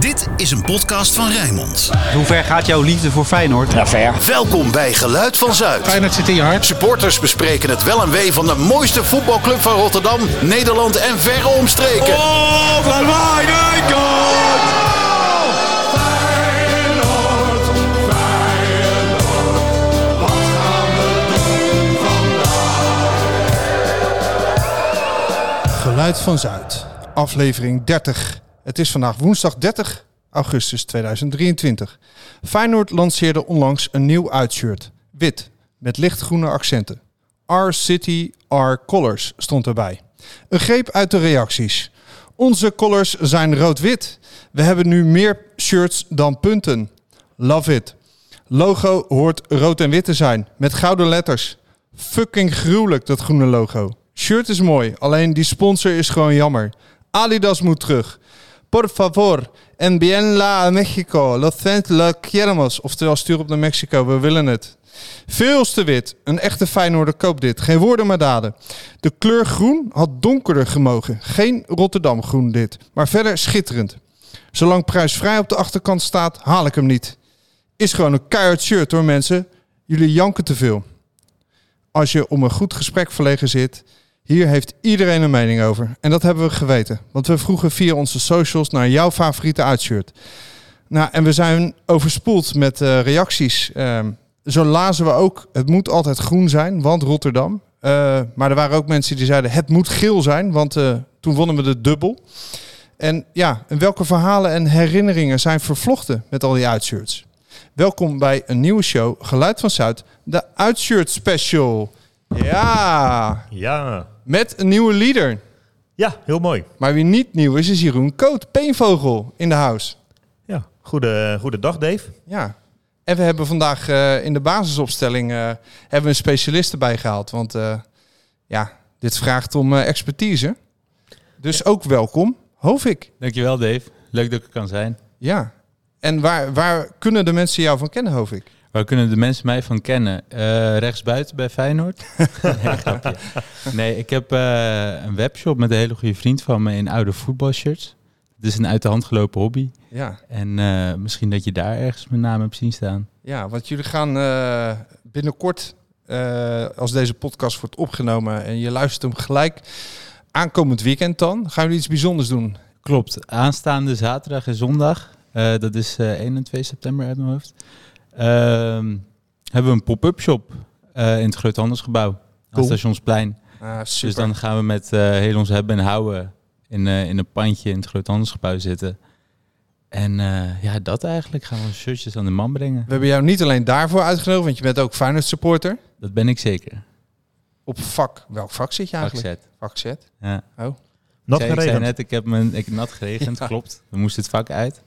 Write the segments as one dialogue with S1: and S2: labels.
S1: Dit is een podcast van Rijnmond.
S2: Hoe ver gaat jouw liefde voor Feyenoord?
S3: Ja, ver.
S1: Welkom bij Geluid van Zuid.
S4: Feyenoord zit in je hart.
S1: Supporters bespreken het wel en wee van de mooiste voetbalclub van Rotterdam, Nederland en verre omstreken.
S5: Oh, van mijn God!
S4: Geluid van Zuid, aflevering 30. Het is vandaag woensdag 30 augustus 2023. Feyenoord lanceerde onlangs een nieuw uitshirt. Wit, met lichtgroene accenten. Our City, Our Colors stond erbij. Een greep uit de reacties. Onze colors zijn rood-wit. We hebben nu meer shirts dan punten. Love it. Logo hoort rood en wit te zijn, met gouden letters. Fucking gruwelijk, dat groene logo. Shirt is mooi, alleen die sponsor is gewoon jammer. Adidas moet terug. Por favor, envíenla a Mexico. Los la queremos. Oftewel, stuur op naar Mexico, we willen het. Veel te wit. Een echte Feyenoorder koopt dit. Geen woorden maar daden. De kleur groen had donkerder gemogen. Geen Rotterdam groen dit. Maar verder schitterend. Zolang prijsvrij op de achterkant staat, haal ik hem niet is gewoon een keihard shirt hoor mensen. Jullie janken te veel. Als je om een goed gesprek verlegen zit, hier heeft iedereen een mening over. En dat hebben we geweten, want we vroegen via onze socials naar jouw favoriete uitshirt. Nou, en we zijn overspoeld met eh, reacties. Ehm, zo lazen we ook, het moet altijd groen zijn, want Rotterdam. Eh, maar er waren ook mensen die zeiden, het moet geel zijn, want eh, toen wonnen we de dubbel. En ja, en welke verhalen en herinneringen zijn vervlochten met al die uitshirts? Welkom bij een nieuwe show, Geluid van Zuid, de Uitshirt Special. Ja,
S6: Ja.
S4: met een nieuwe leader.
S6: ja, heel mooi.
S4: Maar wie niet nieuw is, is Jeroen Koot, peenvogel in de house.
S6: Ja. Goede, goedendag Dave.
S4: Ja. En we hebben vandaag eh, in de basisopstelling eh, hebben we een specialist erbij gehaald. Want eh, ja, dit vraagt om eh, expertise. Dus ook welkom, Hovik.
S7: Dankjewel Dave. Leuk dat ik er kan zijn.
S4: Ja. En waar, waar kunnen de mensen jou van kennen, Hovik?
S7: Waar kunnen de mensen mij van kennen? Eh rechtsbuiten bij Feyenoord? nee, grapje. nee, ik heb eh, een webshop met een hele goede vriend van me in oude voetbalshirts. Het is een uit de hand gelopen hobby.
S4: Ja,
S7: En eh, misschien dat je daar ergens mijn naam hebt zien staan.
S4: ja want jullie gaan eh, binnenkort, eh, als deze podcast wordt opgenomen en je luistert hem gelijk aankomend weekend dan, gaan jullie iets bijzonders doen.
S7: Klopt. Aanstaande zaterdag en zondag. eh, dat is eh 1 en 2 september uit mijn hoofd. ehm, hebben we een pop-up shop eh, in het Groothandelsgebouw. Aan
S4: Cool.
S7: Stationsplein.
S4: Ah, super.
S7: Dus dan gaan we met eh, heel ons hebben en houden in, eh, in een pandje in het groothandelsgebouw zitten. En eh, ja, dat eigenlijk gaan we onze shirtjes aan de man brengen.
S4: We hebben jou niet alleen daarvoor uitgenodigd, want je bent ook Feyenoord supporter.
S7: Dat ben ik zeker.
S4: Op vak, welk vak zit je eigenlijk?
S7: Vakzet.
S4: Vak Z.
S7: Ja.
S6: Nat
S7: ik, zei, ik zei
S6: geregend.
S7: net, ik heb mijn, ik, nat geregend,
S4: Ja.
S7: klopt. We moesten het vak uit.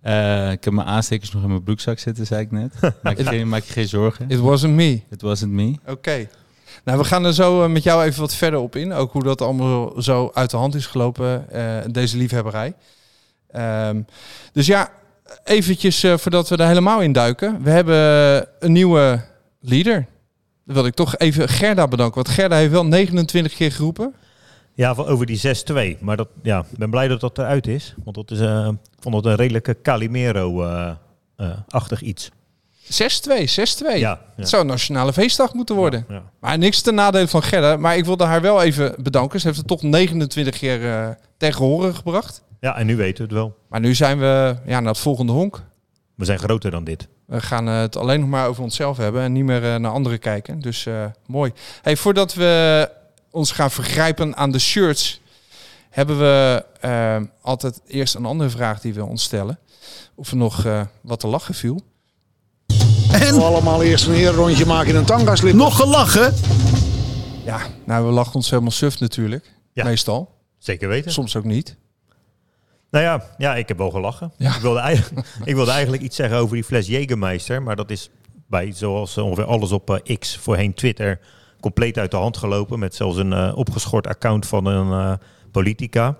S7: Eh, ik heb mijn aanstekers nog in mijn broekzak zitten, zei ik net. Maak je geen, maak je geen zorgen.
S4: It wasn't me.
S7: It wasn't me.
S4: Oké. Nou, we gaan er zo eh, met jou even wat verder op in. Ook hoe dat allemaal zo uit de hand is gelopen, eh, deze liefhebberij. Ehm, dus ja, eventjes eh, voordat we er helemaal in duiken. We hebben een nieuwe leader. Dan wil ik toch even Gerda bedanken. Want Gerda heeft wel 29 keer geroepen.
S6: Ja, van over die 6-2. Maar dat, ja, ik ben blij dat dat eruit is. Want dat is, eh, ik vond het een redelijke Calimero-achtig
S4: 6-2,
S6: iets.
S4: 6-2.
S6: Ja, ja.
S4: Het zou een nationale feestdag moeten worden.
S6: Ja, ja.
S4: Maar niks ten nadele van Gerda. Maar ik wilde haar wel even bedanken. Ze heeft het toch 29 keer eh, tegen horen gebracht.
S6: Ja, en nu weten we het wel.
S4: Maar nu zijn we ja, naar het volgende honk.
S6: We zijn groter dan dit.
S4: We gaan eh, het alleen nog maar over onszelf hebben en niet meer eh, naar anderen kijken. Dus eh, mooi. Hey, voordat we ons gaan vergrijpen aan de shirts, hebben we eh, altijd eerst een andere vraag die we ons stellen. Of er nog eh, wat te lachen viel.
S1: En
S3: Allemaal eerst een herenrondje maken in een tangaslip.
S1: nog gelachen?
S4: Ja, nou, we lachen ons helemaal suf natuurlijk.
S6: Ja.
S4: Meestal.
S6: Zeker weten.
S4: Soms ook niet.
S6: Nou ja, ja, ik heb wel gelachen.
S4: Ja.
S6: Ik, wilde eigenlijk, ik wilde eigenlijk iets zeggen over die fles Jägermeister. Maar dat is bij zoals eh, ongeveer alles op eh, X, voorheen Twitter, compleet uit de hand gelopen. Met zelfs een eh, opgeschort account van een eh, politica.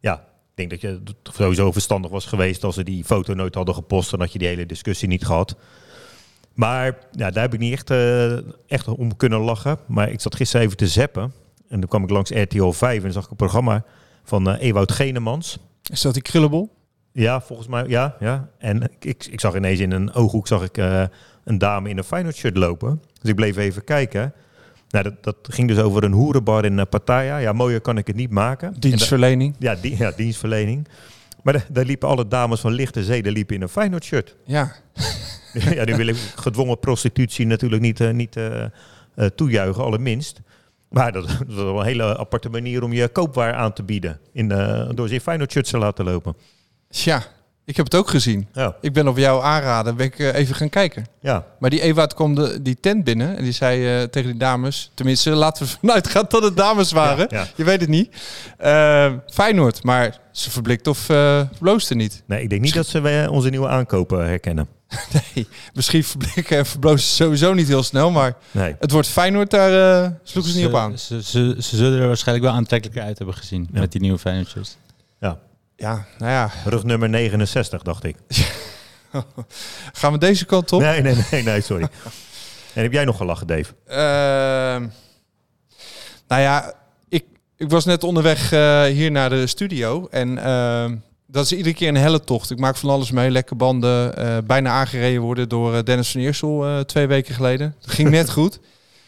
S6: Ja, ik denk dat je het sowieso verstandig was geweest als ze die foto nooit hadden gepost. Dan had je die hele discussie niet gehad. Maar ja, daar heb ik niet echt, eh, echt om kunnen lachen. Maar ik zat gisteren even te zappen. En toen kwam ik langs RTL 5 en zag ik een programma van eh Ewout Genemans.
S4: Is dat die krullebol?
S6: Ja, volgens mij, ja. ja. En ik- ik, ik zag ineens in een ooghoek zag ik, eh, een dame in een Feyenoord shirt lopen. Dus ik bleef even kijken. Nou, dat, dat ging dus over een hoerenbar in eh, Pattaya. Ja, mooier kan ik het niet maken. En da-
S4: Dienstverlening.
S6: ja, die, ja, dienstverlening. Maar da- daar liepen alle dames van lichte zeden liepen in een Feyenoord shirt.
S4: Ja.
S6: ja, nu wil ik gedwongen prostitutie natuurlijk niet, eh, niet eh, eh, toejuichen, allerminst. Maar dat, dat is wel een hele aparte manier om je koopwaar aan te bieden. In, eh, door ze in Feyenoord shirts te laten lopen.
S4: Tja, ik heb het ook gezien.
S6: Ja,
S4: Ik ben op jou aanraden, ben ik eh, even gaan kijken.
S6: ja.
S4: Maar die Ewout kwam de, die tent binnen en die zei eh, tegen die dames... Tenminste, laten we ervan uitgaan dat het dames waren.
S6: Ja, ja.
S4: Je weet het niet. Eh, Feyenoord, maar ze verblikt of eh bloosde niet.
S6: Nee, ik denk niet dat ze eh, onze nieuwe aankopen herkennen.
S4: Nee, misschien verblikken en verbloosden ze sowieso niet heel snel. Maar
S6: Nee.
S4: het wordt Feyenoord, daar eh, sloegen ze niet op aan.
S7: Ze, ze, ze zullen er waarschijnlijk wel aantrekkelijker uit hebben gezien
S6: Ja.
S7: met die nieuwe Feyenoord shirts.
S4: Ja, nou ja.
S6: Rug nummer 69, dacht ik.
S4: Gaan we deze kant op?
S6: Nee, nee, nee, nee, sorry. En heb jij nog gelachen, Dave?
S4: Ehm, nou ja, ik, ik was net onderweg eh, hier naar de studio. En ehm, dat is iedere keer een helle tocht. Ik maak van alles mee. Lekke banden. eh, bijna aangereden worden door eh, Dennis van Eersel eh, twee weken geleden. Dat ging net goed.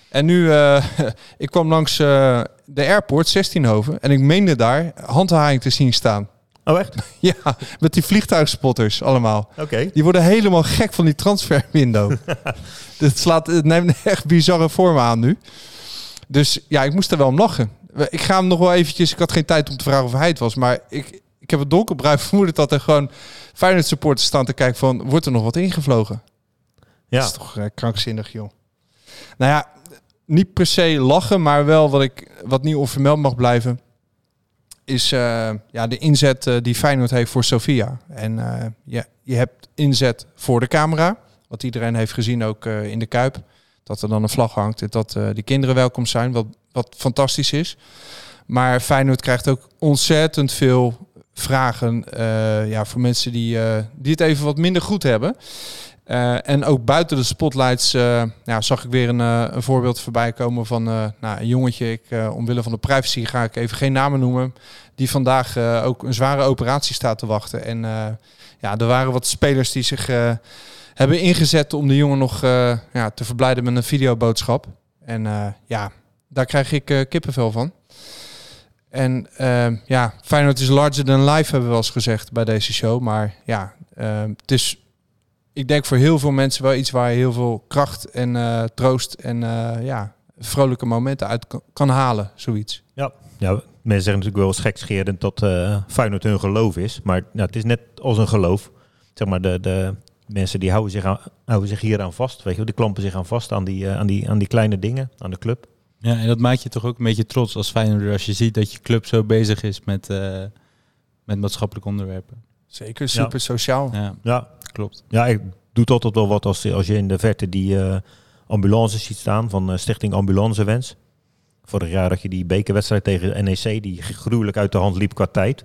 S4: En nu, eh, ik kwam langs eh, de airport, 16 hoven. En ik meende daar handhaving te zien staan.
S6: Oh, echt?
S4: Ja, met die vliegtuigspotters allemaal.
S6: Oké.
S4: Die worden helemaal gek van die transferwindow. Dit slaat, het neemt echt bizarre vormen aan nu. Dus ja, ik moest er wel om lachen. Ik ga hem nog wel eventjes... Ik had geen tijd om te vragen of hij het was. Maar ik, ik heb het donkerbruin vermoeden dat er gewoon Feyenoord supporters staan te kijken van... Wordt er nog wat ingevlogen?
S6: Ja.
S4: Dat is toch eh, krankzinnig, joh. Nou ja, niet per se lachen, maar wel wat, ik, wat niet onvermeld mag blijven... is eh, ja, de inzet eh, die Feyenoord heeft voor Sofia. En eh, ja, je hebt inzet voor de camera. Wat iedereen heeft gezien ook eh, in de Kuip. Dat er dan een vlag hangt en dat eh die kinderen welkom zijn. Wat, wat fantastisch is. Maar Feyenoord krijgt ook ontzettend veel vragen eh, ja, voor mensen die, eh, die het even wat minder goed hebben. Eh, en ook buiten de spotlights eh, ja, zag ik weer een, eh, een voorbeeld voorbij komen van eh, nou, een jongetje. Ik, eh, omwille van de privacy ga ik even geen namen noemen. Die vandaag eh, ook een zware operatie staat te wachten. En eh, ja, er waren wat spelers die zich eh, hebben ingezet om de jongen nog eh, ja, te verblijden met een videoboodschap. En eh, ja, daar krijg ik eh, kippenvel van. En eh, ja, Feyenoord is larger than life, hebben we wel eens gezegd bij deze show. Maar ja, eh, het is ik denk voor heel veel mensen wel iets waar je heel veel kracht en eh, troost en eh, ja, vrolijke momenten uit kan, kan halen, zoiets.
S6: ja, mensen zeggen natuurlijk wel eens gekscherend dat eh Feyenoord hun geloof is. Maar nou, het is net als een geloof. Zeg maar, de, de mensen die houden zich, aan, houden zich hier aan vast. Weet je, wel. die klampen zich aan vast aan die, eh, aan, die, aan die kleine dingen, aan de club.
S7: Ja, en dat maakt je toch ook een beetje trots als Feyenoord als je ziet dat je club zo bezig is met, eh, met maatschappelijke onderwerpen.
S4: Zeker, super sociaal.
S7: Ja,
S6: Ja,
S7: klopt.
S6: Ja, ik doe het altijd wel wat als, als je in de verte die eh, ambulances ziet staan van eh, Stichting Ambulancewens. Vorig jaar had je die bekerwedstrijd tegen NEC die gruwelijk uit de hand liep qua tijd.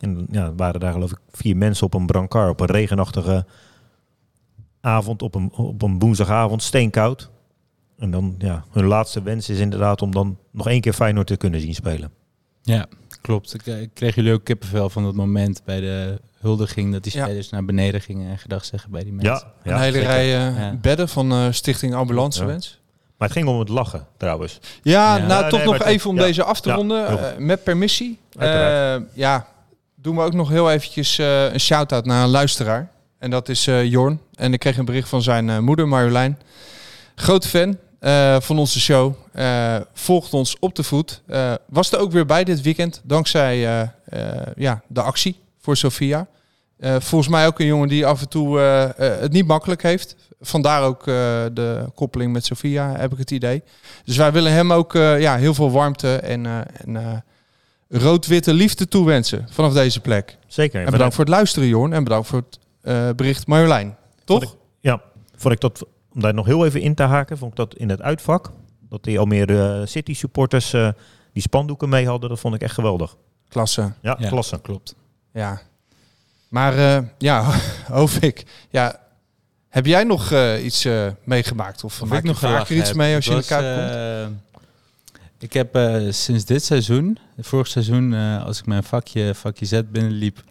S6: En ja, er waren daar geloof ik vier mensen op een brancard op een regenachtige avond, op een, op een woensdagavond, steenkoud. En dan, ja, hun laatste wens is inderdaad om dan nog één keer Feyenoord te kunnen zien spelen.
S7: Ja, klopt. Ik, eh, ik kreeg jullie ook kippenvel van dat moment bij de huldiging dat die
S4: Ja.
S7: spelers naar beneden gingen en gedag zeggen bij die mensen.
S6: ja
S4: een hele
S6: zeker.
S4: rij eh,
S7: Ja.
S4: bedden van eh, Stichting Ambulancewens.
S6: Maar het ging om het lachen trouwens.
S4: Ja,
S7: Ja.
S4: nou
S6: Ja,
S4: toch
S6: nee,
S4: nog
S6: maar het-
S4: even om
S6: ja.
S4: deze af te
S6: Ja,
S4: ronden.
S6: heel
S4: eh, met permissie.
S6: Uiteraard.
S4: Eh, ja, doen we ook nog heel eventjes eh, een shout-out naar een luisteraar. En dat is eh, Jorn. En ik kreeg een bericht van zijn eh, moeder Marjolein. Groot fan eh, van onze show. Eh, volgt ons op de voet. Eh, was er ook weer bij dit weekend. Dankzij eh, eh, ja, de actie voor Sofia. Eh, volgens mij ook een jongen die af en toe eh, eh, het niet makkelijk heeft. Vandaar ook eh, de koppeling met Sofia, heb ik het idee. Dus wij willen hem ook eh, ja, heel veel warmte en, eh, en eh, rood-witte liefde toewensen vanaf deze plek.
S6: Zeker.
S4: En bedankt voor het luisteren, Jorn. En bedankt voor het eh, bericht Marjolein. Toch?
S6: Ja, vond ik dat, om daar nog heel even in te haken, vond ik dat in het uitvak. Dat die Almere eh, City supporters eh, die spandoeken mee hadden, dat vond ik echt geweldig.
S4: Klasse.
S6: Ja,
S7: Ja,
S6: klasse.
S7: Klopt.
S4: Ja. Maar eh, ja, Hovik, ja, heb jij nog eh, iets eh, meegemaakt? Of
S7: Of
S4: maak
S7: ik
S4: je
S7: nog
S4: vaker
S7: gelachen
S4: iets
S7: heb.
S4: mee als je in de
S7: Het was,
S4: Kuip komt?
S7: eh, ik heb eh, sinds dit seizoen, vorig seizoen, eh, als ik mijn vakje, vakje Z binnenliep,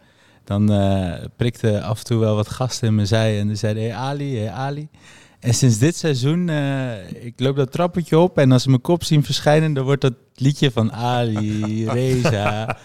S7: Dan eh, prikte af en toe wel wat gasten in mijn zij en die zeiden, hey Ali, hey Ali. En sinds dit seizoen, eh, ik loop dat trappetje op en als ze mijn kop zien verschijnen, dan wordt dat liedje van Ali, Reza.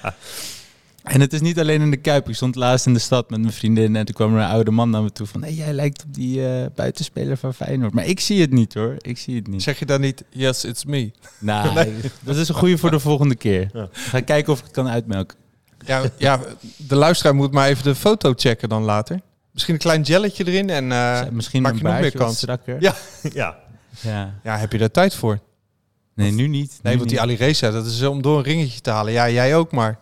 S7: En het is niet alleen in de Kuip. Ik stond laatst in de stad met mijn vriendin en toen kwam er een oude man naar me toe van, hey, jij lijkt op die eh, buitenspeler van Feyenoord. Maar ik zie het niet hoor, ik zie het niet.
S4: Zeg je dan niet, yes, it's me?
S7: Nou, dat is een goede voor de volgende keer. Ga kijken of ik het kan uitmelken.
S4: Ja, ja, de luisteraar moet maar even de foto checken dan later. Misschien een klein jelletje erin en eh,
S7: Misschien
S4: maak
S7: een
S4: je nog meer
S7: baardje wat
S4: kans.
S7: strakker.
S4: Ja.
S6: Ja,
S7: Ja.
S4: Ja, heb je daar tijd voor?
S7: Nee, nu niet.
S4: Nee,
S7: nu
S4: want die
S7: niet.
S4: Ali Reza, dat is om door een ringetje te halen. Ja, jij ook maar.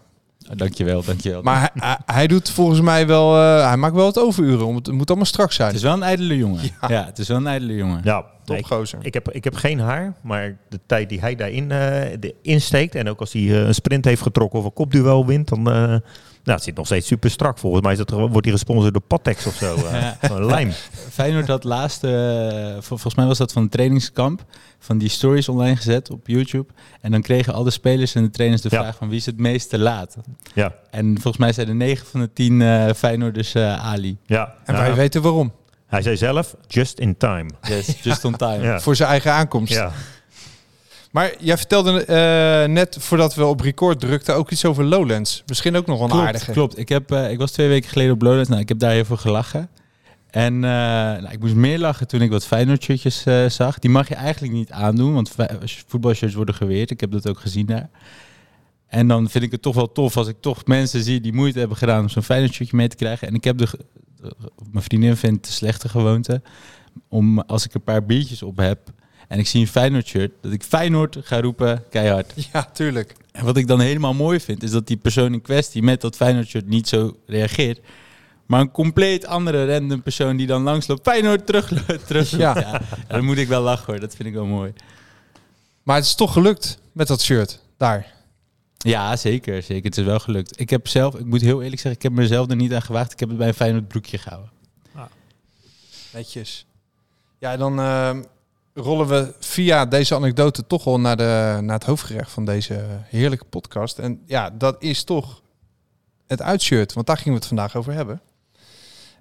S7: Oh, dankjewel, dankjewel.
S4: Maar hij, hij- hij doet volgens mij wel, eh, hij maakt wel het overuren. om Het het moet allemaal strak
S7: het
S4: zijn.
S7: is wel een ijdele jongen. Ja, het is wel een ijdele jongen.
S6: ja. Nee, ik-
S4: Topgozer.
S6: Ik heb, ik heb geen haar, maar de tijd die hij daarin eh, de- insteekt... en ook als hij eh, een sprint heeft getrokken of een kopduel wint... dan eh, nou, het zit nog steeds super strak. Volgens mij is dat, gewoon- wordt hij gesponsord door Patex of zo. eh,
S7: Ja.
S6: Een lijm.
S7: Feyenoord had laatst, eh, vol- volgens mij was dat van het trainingskamp, van die stories online gezet op YouTube. En dan kregen alle spelers en de trainers de
S6: Ja.
S7: vraag van wie is het meest te laat.
S6: Ja,
S7: En volgens mij zeiden 9 van de 10 eh Feyenoorders eh, Ali.
S6: ja.
S4: En
S6: Ja.
S4: wij weten waarom.
S6: Hij zei zelf, just in time.
S7: Yes, just on time.
S6: Ja.
S4: Voor zijn eigen aankomst.
S6: Ja.
S4: Maar jij vertelde eh, net voordat we op record drukten ook iets over Lowlands. Misschien ook nog wel een
S7: klopt,
S4: aardige.
S7: Klopt. Ik, heb, eh, ik was twee weken geleden op Lowlands. Nou, ik heb daar heel veel gelachen. En eh, nou, ik moest meer lachen toen ik wat Feyenoord shirtjes eh, zag. Die mag je eigenlijk niet aandoen, want fe- voetbalshirts worden geweerd. Ik heb dat ook gezien daar. En dan vind ik het toch wel tof als ik toch mensen zie die moeite hebben gedaan om zo'n Feyenoord shirtje mee te krijgen. En ik heb de, ge- de- mijn vriendin vindt het een slechte gewoonte om als ik een paar biertjes op heb en ik zie een Feyenoord shirt, dat ik Feyenoord ga roepen keihard.
S4: Ja, tuurlijk.
S7: En wat ik dan helemaal mooi vind, is dat die persoon in kwestie met dat Feyenoord-shirt niet zo reageert. Maar een compleet andere random persoon die dan langsloopt, Feyenoord terug, terug.
S4: Ja.
S7: Ja. En dan moet ik wel lachen hoor, dat vind ik wel mooi.
S4: Maar het is toch gelukt met dat shirt daar.
S7: Ja, zeker, zeker. Het is wel gelukt. Ik heb zelf, ik moet heel eerlijk zeggen, ik heb mezelf er niet aan gewaagd. Ik heb het bij een Feyenoord broekje gehouden.
S4: Netjes. Ja, dan eh, rollen we via deze anekdote toch al naar, de, naar het hoofdgerecht van deze heerlijke podcast. En ja, dat is toch het uitshirt, want daar gingen we het vandaag over hebben.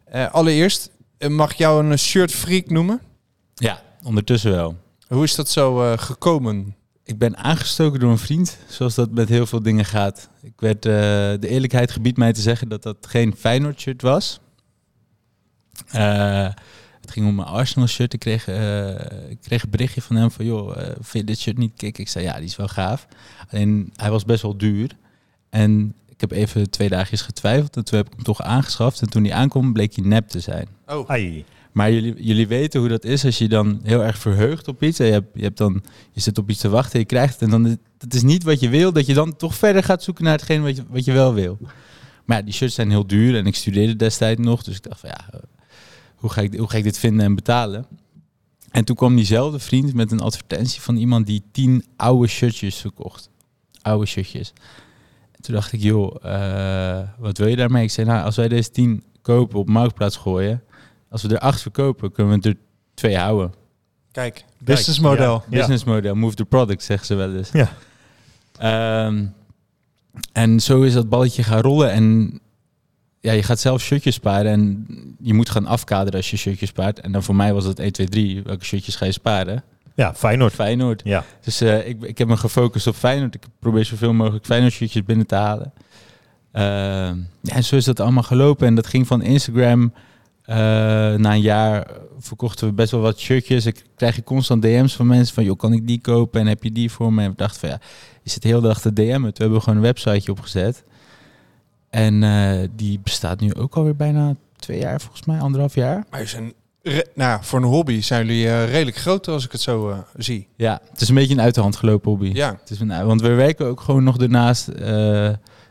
S4: Eh, allereerst, eh, mag ik jou een shirt freak noemen?
S7: Ja, ondertussen wel.
S4: Hoe is dat zo eh, gekomen?
S7: Ik ben aangestoken door een vriend, zoals dat met heel veel dingen gaat. Ik werd, eh, de eerlijkheid gebiedt mij te zeggen dat dat geen Feyenoord shirt was. Eh, het ging om mijn Arsenal shirt. Ik kreeg, eh, ik kreeg een berichtje van hem van, joh, eh, vind je dit shirt niet kick? Ik zei, ja, die is wel gaaf. Alleen, hij was best wel duur. En ik heb even twee dagjes getwijfeld en toen heb ik hem toch aangeschaft. En toen hij aankwam, bleek hij nep te zijn.
S6: Ai.
S7: Maar jullie, jullie weten hoe dat is als je dan heel erg verheugt op iets. En je, hebt, je, hebt dan, je zit op iets te wachten en je krijgt het. En dan, is- dat is niet wat je wil. Dat je dan toch verder gaat zoeken naar hetgeen wat je, wat je wel wil. Maar ja, die shirts zijn heel duur. En ik studeerde destijds nog. Dus ik dacht van ja, eh, hoe ga ik, hoe ga ik dit vinden en betalen? En toen kwam diezelfde vriend met een advertentie van iemand die tien oude shirtjes verkocht. Oude shirtjes. En toen dacht ik, joh, eh, wat wil je daarmee? Ik zei, nou, als wij deze tien kopen op Marktplaats gooien... Als we er acht verkopen, kunnen we er twee houden.
S4: Kijk, businessmodel.
S6: Ja.
S7: Business model, move the product, zeggen ze wel eens.
S6: Ja.
S7: Ehm, en zo is dat balletje gaan rollen. En ja, je gaat zelf shirtjes sparen. En je moet gaan afkaderen als je shirtjes spaart. En dan voor mij was dat 1, 2, 3. Welke shirtjes ga je sparen?
S6: Ja, Feyenoord.
S7: Feyenoord.
S6: Ja.
S7: Dus eh, ik, ik heb me gefocust op Feyenoord. Ik probeer zoveel mogelijk Feyenoord shirtjes binnen te halen. Ehm, ja, en zo is dat allemaal gelopen. En dat ging van Instagram. eh, na een jaar verkochten we best wel wat shirtjes. Ik krijg je constant DM's van mensen van... joh, kan ik die kopen en heb je die voor me? En we dachten van ja, je zit de hele dag te DM'en. Toen hebben we gewoon een websiteje opgezet. En eh, die bestaat nu ook alweer bijna twee jaar volgens mij, anderhalf jaar.
S4: Maar is een re- nou, ja, voor een hobby zijn jullie eh, redelijk groot als ik het zo eh, zie.
S7: Ja, het is een beetje een uit de hand gelopen hobby.
S4: Ja,
S7: Het is een- want we werken ook gewoon nog ernaast. eh,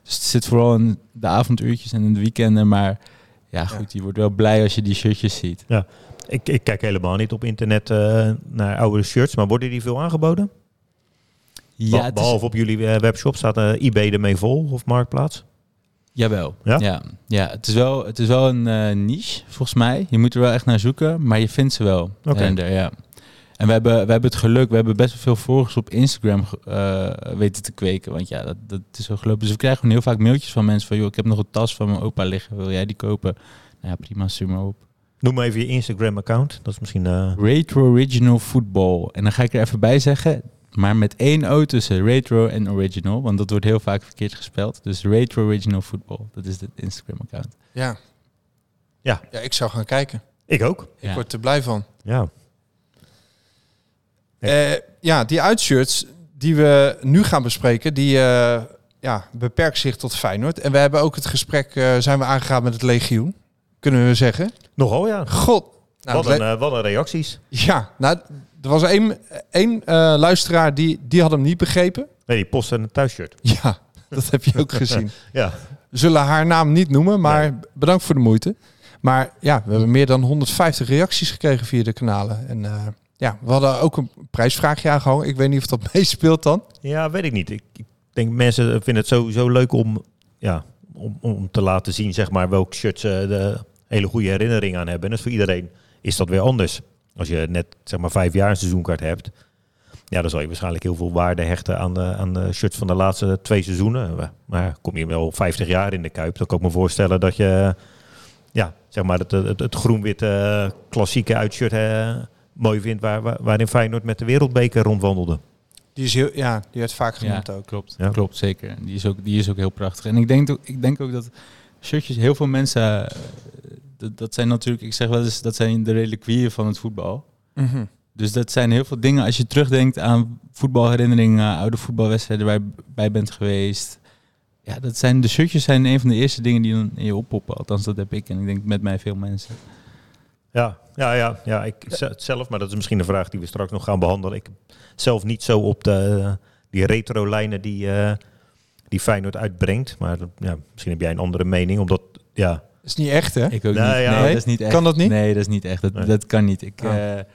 S7: dus het zit vooral in de avonduurtjes en in de weekenden. Maar ja, goed, je wordt wel blij als je die shirtjes ziet.
S6: Ik, ik kijk helemaal niet op internet eh, naar oude shirts, maar worden die veel aangeboden?
S7: Ja,
S6: Be-
S7: het is,
S6: Behalve op jullie eh, webshop staat eh, eBay ermee vol of Marktplaats?
S7: jawel.
S6: Ja?
S7: Ja? Ja, het is wel, het is wel een eh, niche, volgens mij. Je moet er wel echt naar zoeken, maar je vindt ze wel.
S6: Oké.
S7: En, ja. En we hebben, we hebben het geluk, we hebben best wel veel volgers op Instagram ge- eh, weten te kweken. Want ja, dat, dat is zo gelopen. Dus we krijgen gewoon heel vaak mailtjes van mensen van... joh, ik heb nog een tas van mijn opa liggen, wil jij die kopen? Nou ja, prima, stuur maar op.
S6: Noem maar even je Instagram-account. Dat is misschien... eh,
S7: Retro Original Football. En dan ga ik er even bij zeggen, maar met één O tussen Retro en Original. Want dat wordt heel vaak verkeerd gespeld. Dus Retro Original Football, dat is het Instagram-account.
S8: Ja.
S6: Ja.
S8: ja, ik zou gaan kijken.
S6: ik ook.
S8: Ik
S7: Ja.
S8: word er blij van.
S6: Ja.
S4: Eh, ja, die uitshirts die we nu gaan bespreken, die eh, ja, beperkt zich tot Feyenoord. En we hebben ook het gesprek, eh, zijn we aangegaan met het legioen, kunnen we zeggen.
S6: Nogal, ja.
S4: God, nou,
S6: wat,
S4: het
S6: een,
S4: le-
S6: eh, wat een reacties.
S4: ja, nou, er was één, één eh, luisteraar die, die had hem niet begrepen.
S6: Nee, die post en een thuisshirt.
S4: Ja, dat heb je ook gezien.
S6: Ja.
S4: We zullen haar naam niet noemen, maar bedankt voor de moeite. Maar ja, we hebben meer dan 150 reacties gekregen via de kanalen. En eh, ja, we hadden ook een prijsvraagje aangehangen. Ik weet niet of dat meespeelt dan.
S6: Ja, weet ik niet. Ik, ik denk mensen vinden het sowieso leuk om, ja, om, om te laten zien zeg maar, welk shirt ze de hele goede herinnering aan hebben. En dus voor iedereen is dat weer anders. Als je net zeg maar, vijf jaar een seizoenkaart hebt, ja, dan zal je waarschijnlijk heel veel waarde hechten aan de, aan de shirts van de laatste twee seizoenen. Maar kom je wel 50 jaar in de kuip, dan kan ik me voorstellen dat je ja, zeg maar het, het, het groen-wit eh, klassieke uitshirt eh, mooi vindt waar, waar- waarin Feyenoord met de wereldbeker rondwandelde.
S4: Die, is heel, ja, die werd vaak
S7: Ja,
S4: genoemd ook.
S7: klopt.
S6: Ja.
S7: Klopt, zeker. En Die is, ook, die is ook heel prachtig. En ik denk, ook- ik denk ook dat shirtjes, heel veel mensen, eh, dat, dat zijn natuurlijk, ik zeg wel eens, dat zijn de reliquieën van het voetbal.
S4: Mhm.
S7: Dus dat zijn heel veel dingen. Als je terugdenkt aan voetbalherinneringen, oude voetbalwedstrijden waar je bij bent geweest. Ja, dat zijn, de shirtjes zijn een van de eerste dingen die dan in je oppoppen. Althans, dat heb ik en ik denk met mij veel mensen.
S6: Ja, ja, ja, ja ik z- het zelf, maar dat is misschien een vraag die we straks nog gaan behandelen. Ik heb zelf niet zo op de, eh, die retro-lijnen die, eh, die Feyenoord uitbrengt. Maar ja, misschien heb jij een andere mening, omdat ja,
S4: Is niet echt, hè?
S7: Ik ook
S6: Nou
S7: niet.
S6: ja.
S7: nee, dat is niet echt.
S4: Kan dat niet?
S7: Nee, dat is niet echt. Dat,
S6: Nee.
S7: dat kan niet. Ik,
S4: Oh.
S7: eh,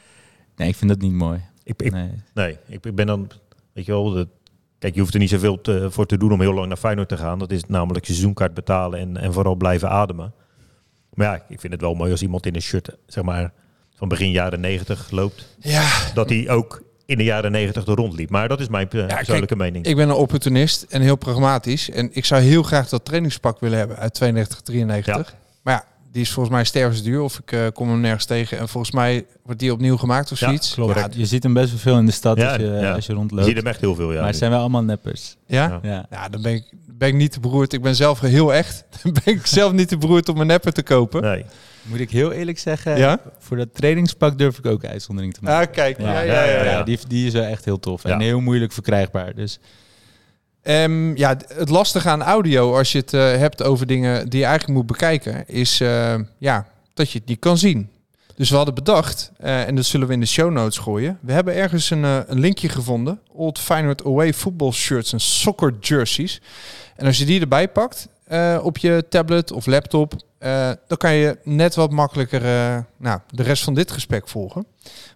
S7: nee, ik vind dat niet mooi.
S6: ik, ik,
S7: Nee.
S6: nee, ik, ik ben dan, weet je wel, de- kijk, je hoeft er niet zoveel te- voor te doen om heel lang naar Feyenoord te gaan. Dat is namelijk je seizoenkaart betalen en, en vooral blijven ademen. Maar ja, ik vind het wel mooi als iemand in een shirt, zeg maar, van begin jaren negentig loopt,
S4: Ja,
S6: dat hij ook in de jaren negentig er rondliep. Maar dat is mijn eh, persoonlijke mening.
S4: ik ben een opportunist en heel pragmatisch. En ik zou heel graag dat trainingspak willen hebben uit 92, 93. Maar ja, die is volgens mij stervensduur of ik eh, kom hem nergens tegen. En volgens mij wordt die opnieuw gemaakt of
S6: Ja,
S4: zoiets.
S6: klopt.
S4: Ja,
S6: Correct.
S7: Je ziet hem best wel veel in de stad als, je,
S6: ja.
S7: als je
S6: Je
S7: rondloopt.
S6: ziet hem echt heel veel, ja.
S7: maar het
S6: nu.
S7: zijn wel allemaal neppers.
S4: ja?
S6: Ja.
S7: Ja.
S4: Ja, dan ben ik, ben ik niet te beroerd. Ik ben zelf heel echt. Dan ben ik zelf niet te beroerd om een nepper te kopen.
S6: Nee.
S7: Moet ik heel eerlijk zeggen,
S4: Ja?
S7: voor dat trainingspak durf ik ook een uitzondering te maken.
S4: Ah, kijk. Ja, ja,
S6: ja, ja.
S7: die, die is wel echt heel tof
S6: Ja.
S7: en heel moeilijk verkrijgbaar. Dus
S4: Ehm, ja, d- het lastige aan audio, als je het eh, hebt over dingen die je eigenlijk moet bekijken, is eh, ja, dat je het niet kan zien. Dus we hadden bedacht, eh, en dat zullen we in de show notes gooien. We hebben ergens een, eh, een linkje gevonden. Old Feyenoord Away football shirts en soccer jerseys. En als je die erbij pakt eh, op je tablet of laptop, eh, dan kan je net wat makkelijker eh, nou, de rest van dit gesprek volgen.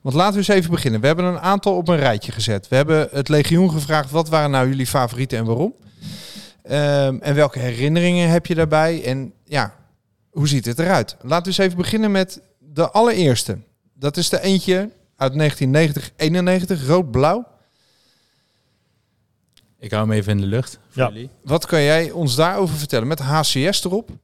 S4: Want laten we eens even beginnen. We hebben een aantal op een rijtje gezet. We hebben het legioen gevraagd, wat waren nou jullie favorieten en waarom? Ehm, en welke herinneringen heb je daarbij? En ja, hoe ziet het eruit? Laten we eens even beginnen met de allereerste. Dat is de eentje uit 1990-91, rood-blauw.
S7: ik hou hem even in de lucht voor
S6: Ja.
S7: jullie.
S4: Wat kan jij ons daarover vertellen? Met HCS erop.
S6: Oh,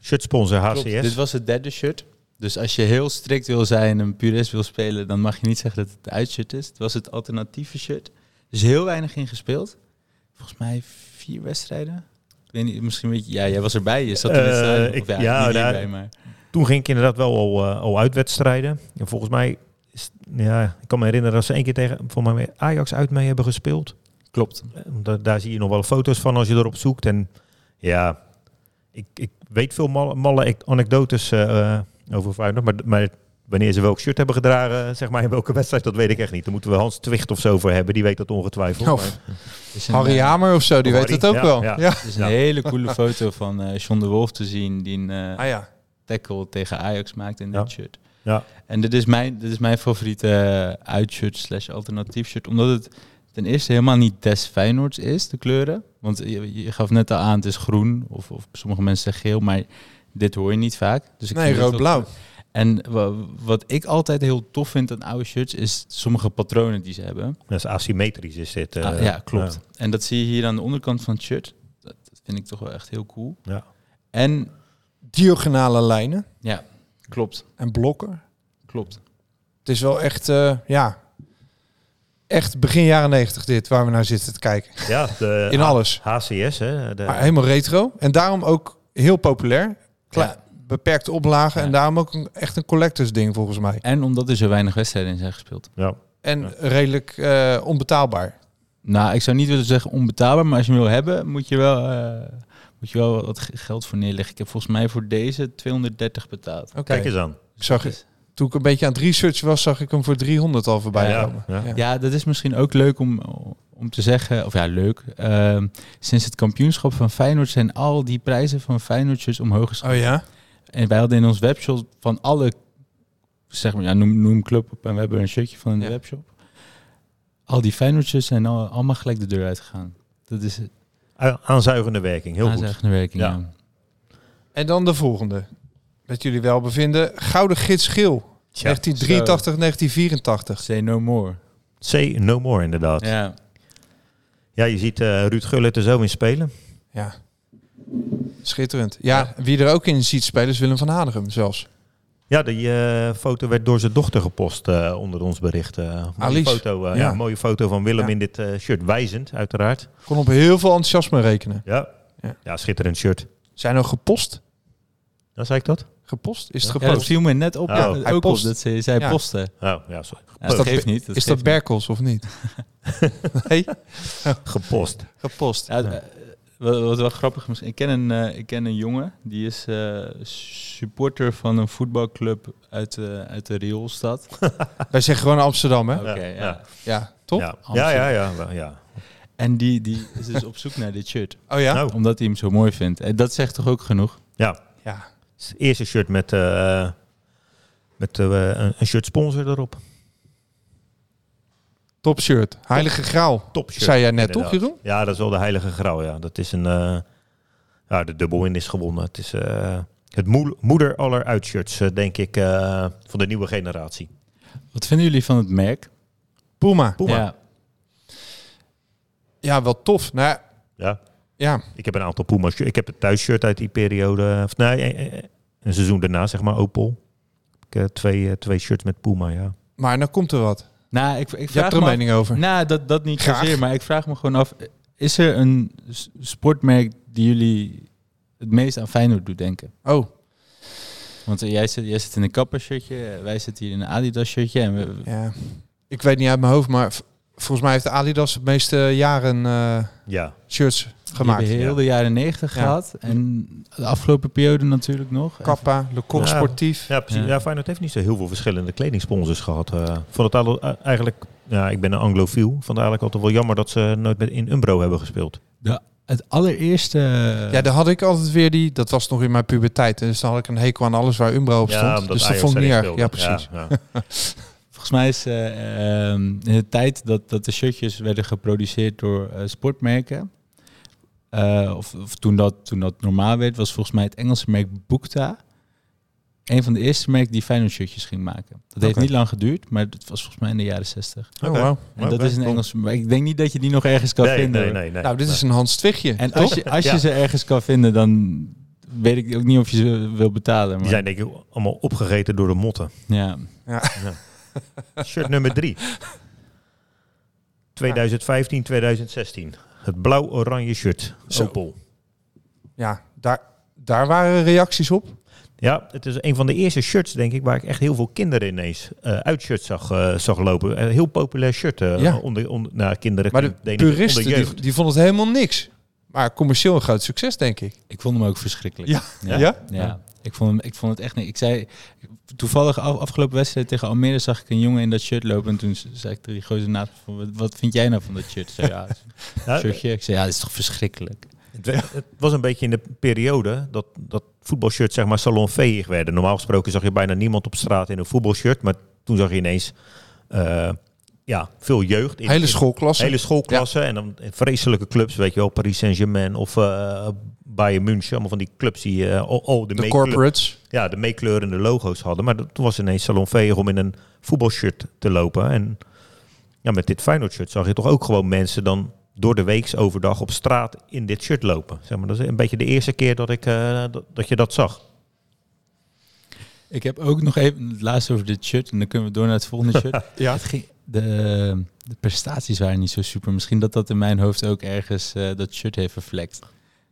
S6: Shirtsponsor HCS.
S7: Klopt, Dit was het derde shirt. Dus als je heel strikt wil zijn en purist wil spelen, dan mag je niet zeggen dat het het uitshirt is. Het was het alternatieve shirt. Dus heel weinig in gespeeld. Volgens mij vier wedstrijden. Ik weet niet, misschien weet je... Ja, jij was erbij. Je zat er
S6: Eh,
S7: net bij.
S6: ik-
S7: Of ja,
S6: ja,
S7: niet
S6: daar-
S7: bij, maar...
S6: Toen ging ik inderdaad wel al, eh, al uitwedstrijden. En volgens mij, is, ja, ik kan me herinneren dat ze één keer tegen volgens mij Ajax uit mee hebben gespeeld.
S7: Klopt.
S6: Eh, da- daar zie je nog wel foto's van als je erop zoekt. En ja, ik, ik weet veel malle, malle ec- anekdotes eh, eh, over Feyenoord. Maar, maar wanneer ze welk shirt hebben gedragen, eh, zeg maar in welke wedstrijd, dat weet ik echt niet. Daar moeten we Hans Twicht of zo voor hebben. Die weet dat ongetwijfeld.
S4: Of
S6: maar-
S7: Dus een,
S4: Harry
S7: eh,
S4: Hamer of zo, die
S6: Of
S4: weet
S6: Oh, Harry,
S4: het ook
S6: ja,
S4: wel.
S6: ja.
S7: Het is een hele coole foto van eh John de Wolf te zien die een eh,
S4: Ah ja.
S7: tackle tegen Ajax maakt in
S6: Ja.
S7: dat shirt.
S6: Ja.
S7: En dit is mijn, dit is mijn favoriete eh, uitshirt slash alternatief shirt. Omdat het ten eerste helemaal niet des Feyenoords is, de kleuren. Want je, je gaf net al aan, het is groen of, of sommige mensen zeggen geel, maar dit hoor je niet vaak. Dus ik
S4: Nee,
S7: vind het
S4: rood-blauw.
S7: ook- En wa- wat ik altijd heel tof vind aan oude shirts is sommige patronen die ze hebben.
S6: Dat is asymmetrisch is dit. eh,
S7: Ah, ja, klopt. En dat zie je hier aan de onderkant van het shirt. Dat, dat vind ik toch wel echt heel cool.
S6: Ja.
S7: En
S4: Diagonale lijnen
S7: ja, klopt,
S4: en blokken.
S7: klopt.
S4: Het is wel echt, eh, ja, echt begin jaren negentig dit, waar we naar zitten te kijken.
S6: Ja, ja de
S4: In Ah,
S6: H-
S4: alles.
S6: HCS, hè. De,
S4: Maar helemaal retro. En daarom ook heel populair. Kla-
S7: Ja.
S4: Beperkte oplagen en
S7: Ja.
S4: daarom ook een, echt een collectors ding volgens mij.
S7: En omdat er zo weinig wedstrijden in zijn gespeeld.
S6: ja.
S4: En redelijk eh, onbetaalbaar.
S7: Nou, ik zou niet willen zeggen onbetaalbaar, maar als je hem wil hebben, moet je wel, eh, moet je wel wat g- geld voor neerleggen. Ik heb volgens mij voor deze 230 betaald. Dus
S4: Oké.
S6: Kijk eens aan.
S4: Ik zag het. Toen ik een beetje aan het research was, zag ik hem voor 300 al voorbij
S7: Ja,
S4: komen.
S6: ja.
S7: Ja, dat is misschien ook leuk om, om te zeggen. Of ja, leuk. Ehm, sinds het kampioenschap van Feyenoord zijn al die prijzen van Feyenoordjes omhoog geschoten.
S4: Oh ja?
S7: En wij hadden in ons webshop van alle, zeg maar, ja, noem, noem club op. En we hebben een shirtje van in de
S4: Ja.
S7: webshop. Al die Feyenoordjes zijn al, allemaal gelijk de deur uitgegaan. Dat is het
S6: A- Aanzuigende werking, heel goed.
S7: aanzuigende werking.
S6: Ja.
S7: ja.
S4: En dan de volgende. Met jullie wel bevinden. Gouden Gids Geel.
S6: Tja,
S4: 1983, 1984.
S7: Say no more.
S6: Say no more inderdaad. Ja,
S7: Ja.
S6: je ziet eh, Ruud Gullit er zo in spelen.
S4: Ja. Schitterend. Ja, wie er ook in ziet spelen is Willem van Hanegem zelfs.
S6: Ja, die eh, foto werd door zijn dochter gepost eh, onder ons bericht. eh. mooie
S4: Alice.
S6: Foto, eh,
S4: Ja.
S6: ja. mooie foto van Willem
S4: Ja.
S6: in dit eh, shirt. Wijzend, uiteraard.
S4: Kon op heel veel enthousiasme rekenen.
S6: Ja.
S4: Ja.
S6: Ja. schitterend shirt.
S4: Zijn er gepost?
S6: Dan zei ik dat?
S4: Gepost? Is het
S7: Ja, dat
S4: gepost?
S7: viel me net op.
S6: Oh.
S7: Ja,
S4: Hij
S7: ook op
S4: post.
S7: dat ze, zij
S4: Ja.
S7: posten.
S6: Oh, ja, sorry.
S7: Ja, dat
S4: dat
S7: geeft
S4: be-
S7: niet. Dat
S4: is dat
S7: geeft niet.
S4: Berkels of niet? nee?
S6: Gepost.
S4: Gepost.
S7: Ja, eh, wat, wat wel grappig misschien. Ik ken een, eh, ik ken een jongen. Die is eh, supporter van een voetbalclub uit, de uit de Rioolstad. Oké,
S4: Wij zeggen gewoon Amsterdam, hè?
S6: Ja,
S7: ja.
S6: ja.
S4: Ja, toch?
S6: Ja. Ja, ja, ja, wel, ja.
S7: En die, die is dus op zoek naar dit shirt.
S4: Oh ja?
S6: Nou.
S7: Omdat hij hem zo mooi vindt. En dat zegt toch ook genoeg?
S6: Ja.
S4: Ja.
S6: Het Eerste shirt met, eh, met eh, een- een shirt sponsor erop.
S4: Top shirt. Heilige Graal.
S6: Top shirt.
S4: Zei jij net,
S6: inderdaad.
S4: toch, Jeroen?
S6: Ja, dat is wel de heilige graal, ja. Dat is een... eh, ja, de dubbel in is gewonnen. Het is eh, het moe- moeder aller uitshirts, eh, denk ik, eh, van de nieuwe generatie.
S7: Wat vinden jullie van het merk?
S4: Puma.
S6: Puma. Ja.
S7: Ja.
S4: Ja, wel tof. Nou, ja.
S6: Ik heb een aantal Puma's. Ik heb een thuisshirt uit die periode. Of nee, eh, eh, een seizoen daarna, zeg maar, Opel. Ik heb twee, eh, twee shirts met Puma, ja.
S4: Maar nou komt er wat.
S7: Nou, ik, ik
S4: Je hebt
S7: vraag
S4: er een
S7: me af-
S4: mening over.
S7: Nou, dat, dat niet
S4: Graag.
S7: zozeer, maar ik vraag me gewoon af... Is er een s- sportmerk die jullie het meest aan Feyenoord doet denken?
S4: Oh,
S7: Want eh, jij, zit, jij zit in een kappershirtje, eh, wij zitten hier in een Adidas shirtje. En we,
S4: ja. Ik weet niet uit mijn hoofd, maar v- volgens mij heeft Adidas het meeste jaren eh,
S6: Ja,
S4: shirts
S7: we
S4: gemaakt.
S7: hebben heel
S6: ja.
S7: de jaren negentig
S4: Ja.
S7: gehad. En de afgelopen periode natuurlijk nog.
S4: Kappa, Le Coq
S6: Ja.
S4: Sportief.
S6: ja precies.
S7: Ja.
S6: Ja. Feyenoord heeft niet zo heel veel verschillende kledingsponsors gehad. eh van het alle- eh, eigenlijk, ja, ik ben een anglofiel. Vond het eigenlijk altijd wel jammer dat ze nooit met in Umbro hebben gespeeld.
S7: Het allereerste...
S4: Ja, daar had ik altijd weer die. Dat was nog in mijn puberteit. Dus dan had ik een hekel aan alles waar Umbro op stond. dus dat
S6: Ajax
S4: vond ik niet
S6: erin
S4: erg. Ja,
S6: speelde.
S4: precies. Oh,
S6: Ja, ja.
S7: Volgens mij is eh, ehm, in de tijd dat, dat de shirtjes werden geproduceerd door eh, sportmerken. eh, of of toen, dat, toen dat normaal werd, was volgens mij het Engelse merk Boekta. Een van de eerste merken die Feyenoord shirtjes ging maken. Dat heeft
S4: Oké.
S7: niet lang geduurd, maar dat was volgens mij in de jaren 60.
S4: Oh,
S6: Oké.
S4: wauw.
S7: En
S6: Oké,
S7: dat is een
S6: cool.
S7: Engelse merk. Ik denk niet dat je die nog ergens kan
S6: Nee,
S7: vinden.
S6: nee,
S7: hoor.
S6: nee, nee.
S4: Nou, dit is een Hans Twichtje.
S7: En als je, als je
S6: Ja.
S7: ze ergens kan vinden, dan weet ik ook niet of je ze wil betalen. Maar,
S6: Die zijn denk ik allemaal opgegeten door de motten.
S7: ja.
S6: Shirt nummer drie. 2015, 2016. Het blauw-oranje shirt.
S4: Zo.
S6: Opel.
S4: Ja, daar, daar waren reacties op.
S6: Ja, het is een van de eerste shirts, denk ik, waar ik echt heel veel kinderen ineens eh uitshirts zag, eh, zag lopen. Een heel populair shirt eh,
S4: Ja.
S6: onder, onder nou, kinderen.
S4: Maar de
S6: denk ik, onder
S4: puristen, die,
S6: jeugd.
S4: die vonden het helemaal niks. Maar commercieel een groot succes, denk ik.
S7: Ik vond hem ook verschrikkelijk.
S4: Ja?
S7: Ja.
S4: Ja?
S7: Ja. Ik vond, hem, ik vond het echt niet. Ik zei toevallig af- afgelopen wedstrijd tegen Almere zag ik een jongen in dat shirt lopen. En toen z- zei ik tegen die gozer naast me van, wat, wat vind jij nou van dat shirt? Ik Zei, ja, het is een
S6: Ja,
S7: shirtje. Ik zei, ja, dat is toch verschrikkelijk.
S6: Het, we- het was een beetje in de periode dat, dat voetbalshirts zeg maar salonveeg werden. Normaal gesproken zag je bijna niemand op straat in een voetbalshirt. Maar toen zag je ineens eh, ja, veel jeugd. In,
S4: Hele
S6: in-
S4: schoolklasse.
S6: Hele schoolklassen en dan vreselijke clubs, weet je wel, Paris Saint-Germain of eh Bayern München. Allemaal van die clubs die eh, al al de,
S4: De
S6: meekleur-
S4: corporates.
S6: ja, de meekleurende logo's hadden. Maar dat- toen was ineens salonveeg om in een voetbalshirt te lopen. En ja, met dit Feyenoord shirt zag je toch ook gewoon mensen dan door de weeks overdag op straat in dit shirt lopen. Zeg maar, dat is een beetje de eerste keer dat, ik, eh, dat, dat je dat zag.
S7: Ik heb ook nog even het laatste over dit shirt. En dan kunnen we door naar het volgende shirt.
S4: Ja.
S7: Het ging- de, de prestaties waren niet zo super. Misschien dat dat in mijn hoofd ook ergens eh, dat shirt heeft vervlekt.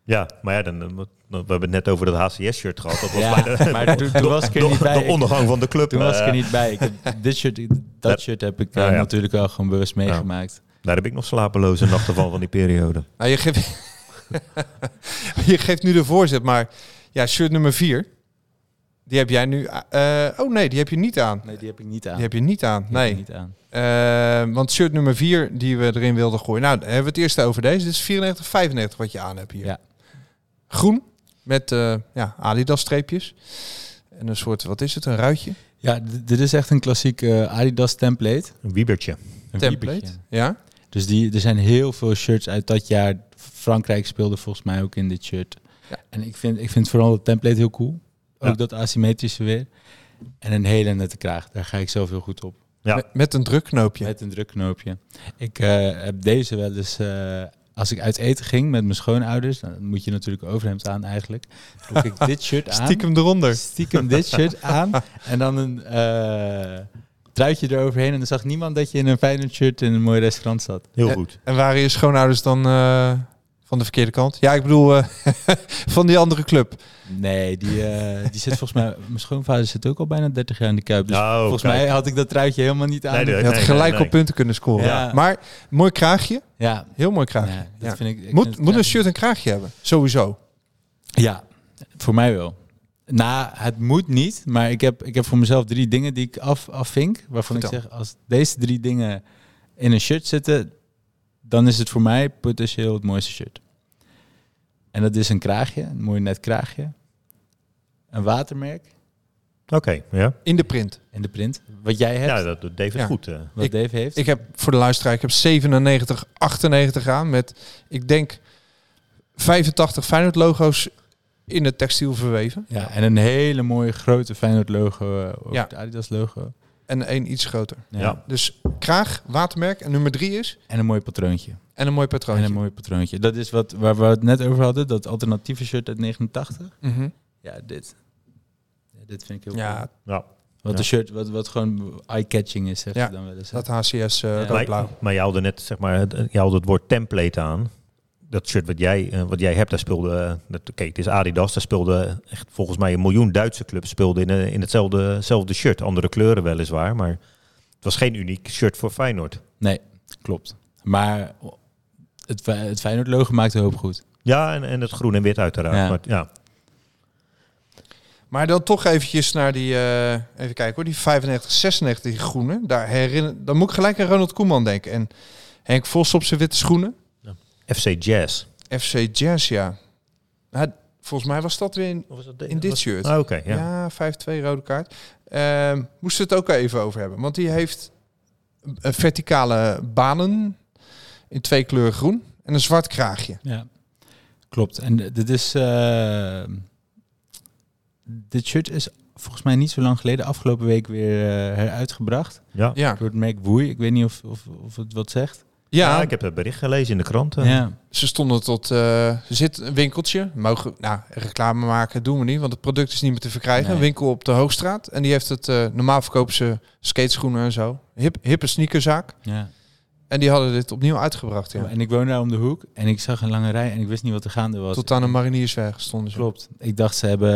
S6: Ja, maar ja, dan, eh, we hebben het net over dat HCS-shirt gehad. Dat was
S7: Ja,
S6: bijna de,
S7: maar toen, toen was ik er niet bij.
S6: de ondergang van de club.
S7: Toen was ik
S6: eh,
S7: er niet bij. Ik heb, dit shirt, dat shirt heb ik eh,
S6: Ja, ja.
S7: natuurlijk wel gewoon bewust meegemaakt.
S6: Daar heb ik nog slapeloze nachten van, van die periode.
S4: Nou, je geeft, je geeft nu de voorzet, maar ja, shirt nummer 4. Die heb jij nu. eh, oh nee, die heb je niet aan.
S7: Nee, die heb ik niet aan.
S4: Die heb je niet aan.
S7: Die heb
S4: Nee.
S7: ik niet aan.
S4: Eh, want shirt nummer 4 die we erin wilden gooien. Nou, dan hebben we het eerst over deze. Dit is 94, 95 wat je aan hebt hier.
S7: Ja.
S4: Groen met eh, ja, Adidas streepjes. En een soort, wat is het, een ruitje?
S7: Ja, d- dit is echt een klassiek eh, Adidas template.
S6: Een wiebertje.
S7: Een
S4: Template.
S7: wiebertje.
S4: Ja.
S7: Dus die, er zijn heel veel shirts uit dat jaar. Frankrijk speelde volgens mij ook in dit shirt.
S4: Ja.
S7: En ik vind, ik vind vooral het template heel cool. Ook
S6: Ja.
S7: dat asymmetrische weer. En een hele nette kraag. Daar ga ik zelf heel goed op.
S6: Ja.
S4: Met, met een drukknoopje.
S7: Met een drukknoopje. Ik eh, heb deze wel eens... eh, als ik uit eten ging met mijn schoonouders, dan moet je natuurlijk overhemd aan eigenlijk. Trok ik dit shirt aan.
S4: Stiekem eronder.
S7: Stiekem dit shirt aan. En dan een eh, truitje eroverheen. En dan zag niemand dat je in een fijne shirt in een mooi restaurant zat.
S6: Heel
S4: Ja.
S6: goed.
S4: En waren je schoonouders dan eh, van de verkeerde kant? Ja, ik bedoel eh, van die andere club.
S7: Nee, die, eh, die zit volgens mij... Mijn schoonvader zit ook al bijna 30 jaar in de Kuip. Dus
S6: Nou,
S7: volgens
S6: kijk.
S7: mij had ik dat truitje helemaal niet aan.
S6: Nee,
S4: Je
S6: nee,
S4: had
S6: nee,
S4: gelijk
S6: nee.
S4: op punten kunnen scoren.
S7: Ja.
S4: Maar mooi kraagje.
S7: Ja,
S4: Heel mooi
S7: ja,
S4: kraagje.
S7: dat
S4: Ja.
S7: vind ik... ik vind
S4: Moet,
S7: het
S4: moet een
S7: raar.
S4: shirt een kraagje hebben? Sowieso.
S7: Ja, voor mij wel. Nou, het moet niet, maar ik heb, ik heb voor mezelf drie dingen die ik af, afvink. Waarvan
S4: Vertel.
S7: ik zeg, als deze drie dingen in een shirt zitten, dan is het voor mij potentieel het mooiste shirt. En dat is een kraagje, een mooi net kraagje. Een watermerk
S6: Oké, ja.
S4: In de print.
S7: in de print. Wat jij hebt,
S6: Ja, dat doet David
S4: Ja.
S6: goed. eh.
S7: wat
S4: ik-
S7: Dave heeft.
S4: Ik heb voor de luisteraar, ik heb 97, 98 aan met, ik denk, 85 Feyenoord logo's in het textiel verweven.
S7: ja, en een hele mooie grote Feyenoord logo, eh, ook
S4: Ja.
S7: het Adidas logo.
S4: En één iets groter.
S7: Ja.
S6: Ja.
S4: Dus kraag, watermerk en nummer drie is.
S7: En een mooi patroontje.
S4: En een mooi patroontje.
S7: En een mooi patroontje. Dat is wat, waar we het net over hadden, dat alternatieve shirt uit 89.
S4: Mhm.
S7: Ja, dit. Ja, dit vind ik heel cool.
S4: Ja,
S6: ja.
S7: Wat
S6: Ja.
S7: een shirt, wat, wat gewoon eye-catching is, zeg
S4: Ja,
S7: je dan wel eens. hè?
S4: dat HCS eh
S7: Ja.
S6: Maar,
S4: roodblauw.
S6: maar je haalde net zeg maar, het- eh, je haalde het woord template aan. Dat shirt wat jij, eh, wat jij hebt, daar speelde... eh, dat- Oké, het is Adidas. Daar speelde echt volgens mij een miljoen Duitse clubs speelden in, eh, in hetzelfde hetzelfde shirt. Andere kleuren weliswaar, maar het was geen uniek shirt voor Feyenoord.
S7: Nee, klopt. Maar het, Fe- het Feyenoord-logo maakt een hoop goed.
S6: Ja, en, en het groen en wit uiteraard.
S7: Ja.
S6: Maar, ja.
S4: Maar dan toch eventjes naar die, eh, even kijken hoor, die 95, 96 die groene. Daar herinner, dan moet ik gelijk aan Ronald Koeman denken. En Henk Vos op zijn witte schoenen.
S6: FC Jazz.
S4: FC Jazz, ja. Nou, volgens mij was dat weer in,
S6: Of was dat
S4: in dit
S6: was-
S4: shirt.
S6: Ah, Oké, ja.
S4: ja, 5-2 rode kaart. Ehm moesten we het ook even over hebben. Want die heeft een verticale banen in twee kleuren groen en een zwart kraagje.
S7: Ja, klopt. En d- dit is... eh, dit shirt is volgens mij niet zo lang geleden, afgelopen week, weer eh, heruitgebracht.
S6: ja.
S4: Ja,
S7: Door het merk Woei. Ik weet niet of, of, of het wat zegt.
S4: ja,
S6: Ja, ik heb het bericht gelezen in de krant. eh.
S7: Ja.
S4: ze stonden tot... eh, er zit een winkeltje. Mogen, nou, reclame maken doen we niet, want het product is niet meer te verkrijgen.
S7: Nee.
S4: Een winkel op de Hoogstraat. En die heeft het... eh, normaal verkopen ze skateschoenen en zo. Hip, hippe sneakerzaak.
S7: ja.
S4: En die hadden dit opnieuw uitgebracht. Ja.
S7: En ik woon daar om de hoek en ik zag een lange rij en ik wist niet wat er gaande was.
S4: Tot aan de mariniersweg stonden ze.
S7: Klopt. Ik dacht, ze hebben,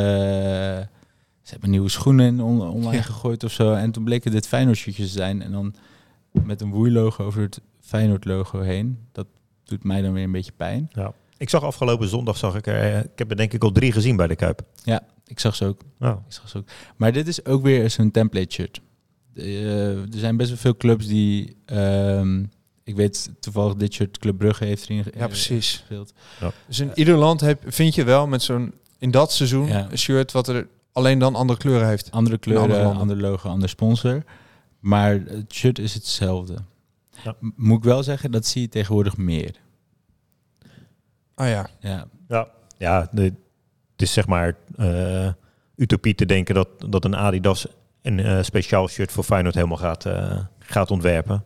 S7: ze hebben nieuwe schoenen on- online
S4: Ja.
S7: gegooid of zo. En toen bleken dit Feyenoord shirtjes te zijn. En dan met een woeilogo over het Feyenoord logo heen. Dat doet mij dan weer een beetje pijn.
S6: Ik zag afgelopen zondag, zag ik, er, eh, ik heb er denk ik al drie gezien bij de Kuip.
S7: Ja, ik zag ze ook.
S6: Nou,
S7: Ik zag ze ook. Maar dit is ook weer zo'n template shirt. Eh, er zijn best wel veel clubs die... ehm, ik weet toevallig dit shirt Club Brugge heeft erin ge-
S4: Ja, precies.
S7: gespeeld.
S4: Dus in ieder land heb, vind je wel met zo'n in dat seizoen
S7: Ja.
S4: een shirt wat er alleen dan andere kleuren heeft.
S7: Andere kleuren,
S4: andere landen.
S7: ander logo, ander sponsor. Maar het shirt is hetzelfde.
S6: Ja.
S7: M- Moet ik wel zeggen, dat zie je tegenwoordig meer.
S4: Ah ja.
S7: Ja,
S6: Ja, ja de, het is zeg maar eh, utopie te denken dat, dat een Adidas een eh, speciaal shirt voor Feyenoord helemaal gaat, eh, gaat ontwerpen.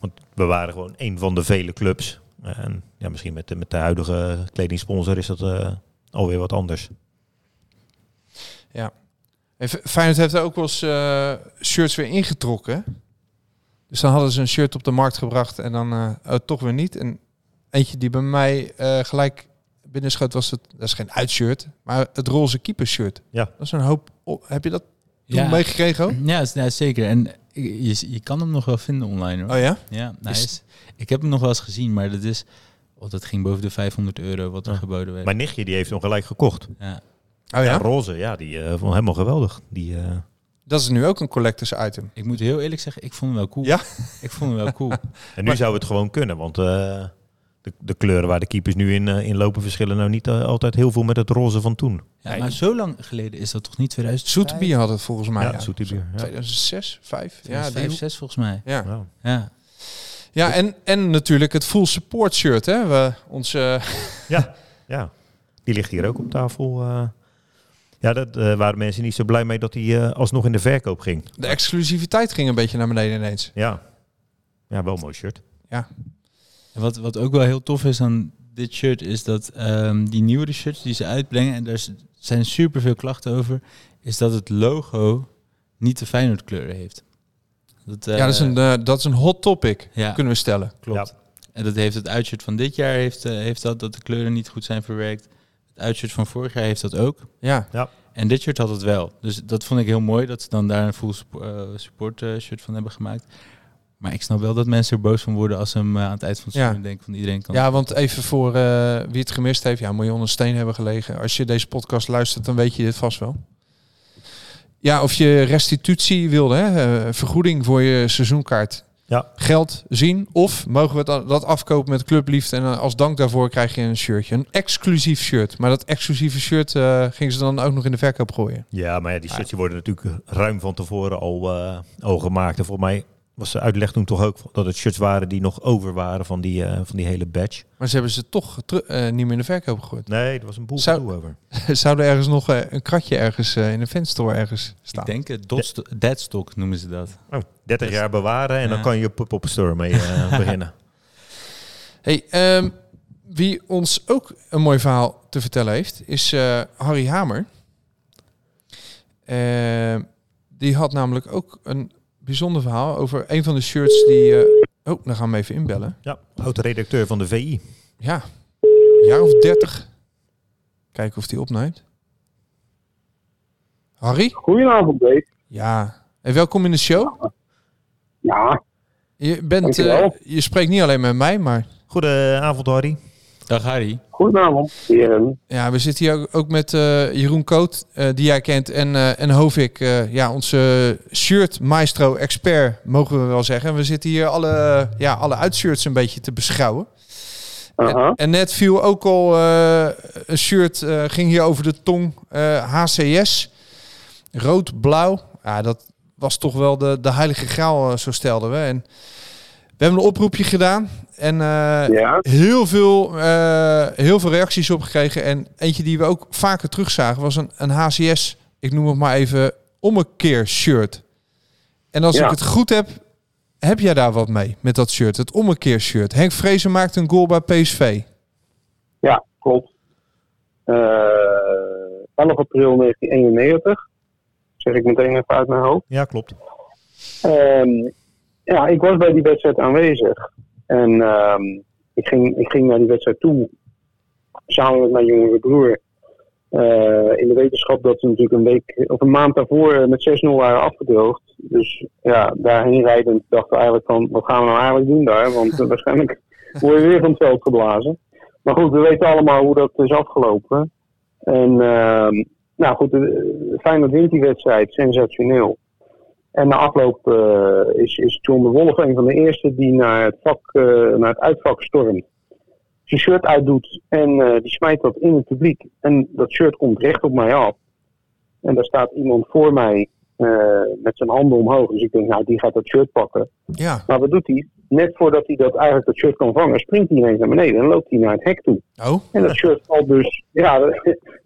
S6: Want we waren gewoon een van de vele clubs. En ja, misschien met de, met de huidige kledingsponsor is dat eh, alweer wat anders.
S4: En F- Feyenoord heeft er ook wel eens eh, shirts weer ingetrokken. Dus dan hadden ze een shirt op de markt gebracht en dan eh, oh, toch weer niet. En eentje die bij mij eh, gelijk binnenschoot was, het, dat is geen uitshirt, maar het roze keepershirt.
S6: Ja.
S4: Dat is een hoop. op- heb je dat toen
S7: ja.
S4: meegekregen ook?
S7: ja, s- ja, zeker. En je, je kan hem nog wel vinden online hoor.
S4: Oh ja?
S7: Ja, nou, hij
S4: Is-
S7: is, ik heb hem nog wel eens gezien, maar dat is... Oh, dat ging boven de 500 euro wat er
S6: Ja.
S7: geboden werd.
S6: Mijn nichtje die heeft hem gelijk gekocht.
S7: ja.
S4: Oh ja?
S6: Roze, ja, die eh, vond helemaal geweldig. Die, eh,
S4: Dat is nu ook een collectors item.
S7: Ik moet heel eerlijk zeggen, ik vond hem wel cool.
S4: Ja?
S7: Ik vond hem wel cool.
S6: En nu zou het gewoon kunnen, want eh, de, de kleuren waar de keepers nu in, eh, in lopen verschillen nou niet eh, altijd heel veel met het roze van toen.
S7: Ja, maar zo lang geleden is dat toch niet 2000?
S4: Zoetebier had het volgens mij.
S6: Ja, Zoetermeer, ja.
S4: 2006, 5.
S7: Ja,
S4: Ja, die-
S7: 6 volgens mij.
S4: ja.
S6: Ja.
S7: Ja.
S4: ja en, en natuurlijk het full support shirt. Hè? We, onze, eh,
S6: Ja, ja. Die ligt hier ook op tafel. eh. Ja, daar waren mensen niet zo blij mee dat hij eh, alsnog in de verkoop ging.
S4: de exclusiviteit ging een beetje naar beneden ineens.
S6: Ja. Ja, wel een mooi shirt.
S7: En Wat, wat ook wel heel tof is aan dit shirt, is dat ehm, die nieuwere shirts die ze uitbrengen, en daar z- zijn superveel klachten over, is dat het logo niet de Feyenoord kleuren heeft. Dat, eh,
S4: ja, dat is, een, eh, dat is een hot topic,
S7: ja,
S4: kunnen we stellen.
S7: klopt. En dat heeft het uitshirt van dit jaar, heeft, eh, heeft dat, dat de kleuren niet goed zijn verwerkt. Het uitshirt van vorig jaar heeft dat ook.
S4: Ja,
S7: En dit shirt had het wel. Dus dat vond ik heel mooi dat ze dan daar een full sup- eh, support eh, shirt van hebben gemaakt. Maar ik snap wel dat mensen er boos van worden als ze hem eh, aan het eind van het
S4: Ja.
S7: seizoen denken van iedereen kan.
S4: ja want even voor eh, wie het gemist heeft. Ja, moet je onder een steen hebben gelegen. Als je deze podcast luistert, dan weet je dit vast wel. Ja, of je restitutie wilde, hè? eh, vergoeding voor je seizoenkaart.
S6: Ja.
S4: Geld zien. Of mogen we dat, dat afkopen met clubliefde. En eh, als dank daarvoor krijg je een shirtje. Een exclusief shirt. Maar dat exclusieve shirt eh, gingen ze dan ook nog in de verkoop gooien.
S6: Ja, maar ja, die shirts die worden natuurlijk ruim van tevoren al, eh, al gemaakt. En volgens mij was de uitleg toen toch ook dat het shirts waren die nog over waren van die, eh, van die hele badge.
S4: Maar ze hebben ze toch teru- eh, niet meer in de verkoop gegooid.
S6: Nee, er was een boel
S4: Zou-
S6: gedoe over.
S4: Zou er ergens nog eh, een kratje ergens eh, in een fanstore ergens
S7: Ik
S4: staan?
S6: Nou.
S7: denk het dotsto- deadstock noemen ze dat.
S6: Oh, 30 jaar bewaren en dan
S7: Ja.
S6: kan je je pop-up store mee eh, beginnen.
S4: Hey, ehm, wie ons ook een mooi verhaal te vertellen heeft, is eh, Harry Hamer. Ehm, die had namelijk ook een bijzonder verhaal over een van de shirts die... eh, oh, dan gaan we hem even inbellen.
S6: Ja, oud-redacteur van de VI.
S4: Ja, een jaar of dertig. Kijken of die opneemt. Harry?
S9: Goedenavond, Dave.
S4: Ja. Hey, welkom in de show.
S9: Ja,
S4: Je, bent, eh,
S9: Dankjewel.
S4: je spreekt niet alleen met mij, maar
S6: Goedenavond, Harry.
S7: Dag Harry.
S9: goedenavond, heren.
S4: Ja, we zitten hier ook, ook met eh, Jeroen Koot, eh, die jij kent, en, eh en Hovik, eh, ja, onze shirt maestro expert, mogen we wel zeggen. We zitten hier alle, eh, ja, alle uitshirts een beetje te beschouwen.
S9: Aha.
S4: En, en net viel ook al eh, een shirt, eh, ging hier over de tong, eh, HCS, rood-blauw. Ja, dat was toch wel de, de heilige graal, eh, zo stelden we. En we hebben een oproepje gedaan en eh,
S9: Ja,
S4: heel veel, eh, heel veel reacties op gekregen. En eentje die we ook vaker terugzagen was een, een HCS, ik noem het maar even, ommekeer shirt. En als
S9: Ja.
S4: ik het goed heb, heb jij daar wat mee met dat shirt, het ommekeer shirt. Henk Vrezen maakt een goal bij PSV.
S9: ja klopt. Eh 11 april 1991. Zeg ik meteen even uit mijn hoofd.
S6: Ja, klopt.
S9: Ehm, ja, ik was bij die wedstrijd aanwezig. En ehm, ik, ging, ik ging naar die wedstrijd toe. Samen met mijn jongere broer. Eh, in de wetenschap dat ze natuurlijk een week of een maand daarvoor eh, met 6-0 waren afgedroogd. Dus ja, daarheen rijdend dachten we eigenlijk van wat gaan we nou eigenlijk doen daar? Want eh, waarschijnlijk word je weer van het veld geblazen. Maar goed, we weten allemaal hoe dat is afgelopen. En ehm, nou goed, eh, Feyenoord wint die wedstrijd, sensationeel. En na afloop eh, is, is John de Wolf een van de eerste die naar het, vak, eh, naar het uitvak stormt. Zijn shirt uitdoet en eh, die smijt dat in het publiek. En dat shirt komt recht op mij af. En daar staat iemand voor mij eh, met zijn handen omhoog. Dus ik denk, nou, die gaat dat shirt pakken.
S4: Ja,
S9: Maar wat doet hij? Net voordat hij dat eigenlijk dat shirt kan vangen, springt hij ineens naar beneden en loopt hij naar het hek toe.
S4: Oh,
S9: En dat shirt valt dus, ja,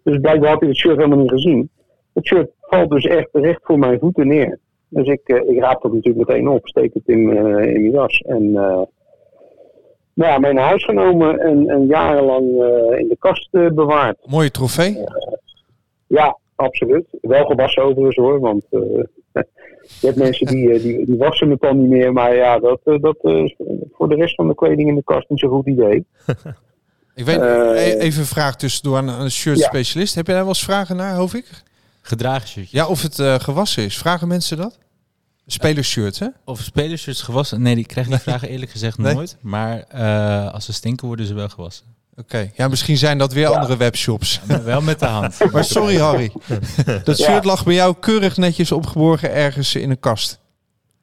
S9: dus blijkbaar had hij het shirt helemaal niet gezien. Het shirt valt dus echt recht voor mijn voeten neer. Dus ik, eh, ik raap dat natuurlijk meteen op, steek het in, eh, in mijn jas. En eh, nou ja, mee naar huis genomen en, en jarenlang eh, in de kast eh, bewaard.
S4: mooie trofee.
S9: Ja, absoluut. Wel gewassen overigens hoor, want eh, je hebt mensen die, eh, die, die wassen het dan niet meer. Maar ja, dat, eh, dat eh, is voor de rest van de kleding in de kast niet zo'n goed idee.
S4: Ik weet,
S9: Eh,
S4: e- even een vraag tussendoor aan aan een shirt specialist. Heb jij daar wel eens vragen naar, hoop ik?
S7: Gedragen shirtje.
S4: Ja, of het eh, gewassen is. Vragen mensen dat? Spelersshirt, hè?
S7: Of spelershirts gewassen? Nee, ik krijg die vragen eerlijk gezegd
S4: Nee.
S7: nooit. Maar eh, als ze stinken, worden ze wel gewassen.
S4: Oké. Ja, misschien zijn dat weer andere webshops.
S7: Maar wel met de hand.
S4: Maar sorry, Harry. Dat
S9: Ja.
S4: shirt lag bij jou keurig netjes opgeborgen ergens in een kast.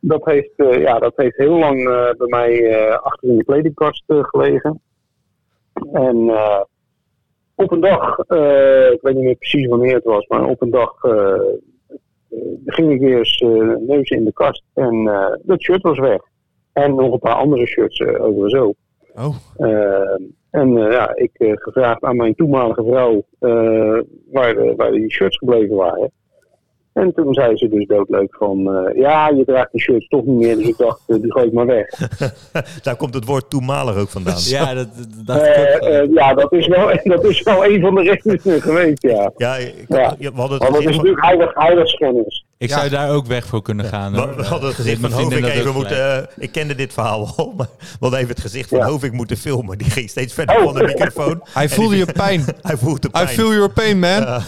S9: Dat heeft, eh, ja, dat heeft heel lang eh, bij mij eh, achter in de kledingkast eh, gelegen. En eh, op een dag, eh, ik weet niet meer precies wanneer het was, maar op een dag eh, eh, ging ik weer eens eh, neus in de kast en eh, dat shirt was weg. En nog een paar andere shirts eh, overigens ook.
S4: Oh.
S9: Eh, en eh, ja, ik eh, gevraagd aan mijn toenmalige vrouw eh, waar, de- waar die shirts gebleven waren. En toen zei ze dus doodleuk van, eh, ja, je draagt die shirts toch niet meer, dus ik dacht, eh, die gooi ik maar weg.
S6: Daar komt het woord toenmalig ook vandaan.
S7: Ja, dat, dat, dat
S9: Eh, eh, ja, dat is, wel, dat is wel een van de redenen geweest, ja.
S6: Ja, ik-
S9: Ja.
S6: we hadden
S9: Want
S6: het
S9: dat is
S6: gezien
S9: natuurlijk heilig, heilig schennis.
S7: Ik zou daar ook weg voor kunnen gaan.
S6: We,
S7: hoor.
S6: we hadden het
S7: Eh,
S6: gezicht van
S7: mijn vriendin
S6: Hovink
S7: had
S6: even
S7: ook
S6: moeten...
S7: gelijk.
S6: eh, ik kende dit verhaal al, maar we hadden even het gezicht van
S9: Ja.
S6: Hovink moeten filmen. Die ging steeds verder
S9: Oh.
S6: van de microfoon.
S4: Hij
S6: En
S4: voelde
S6: die-
S4: je pijn.
S6: Hij voelde de
S4: I
S6: pijn.
S4: feel your pain, man.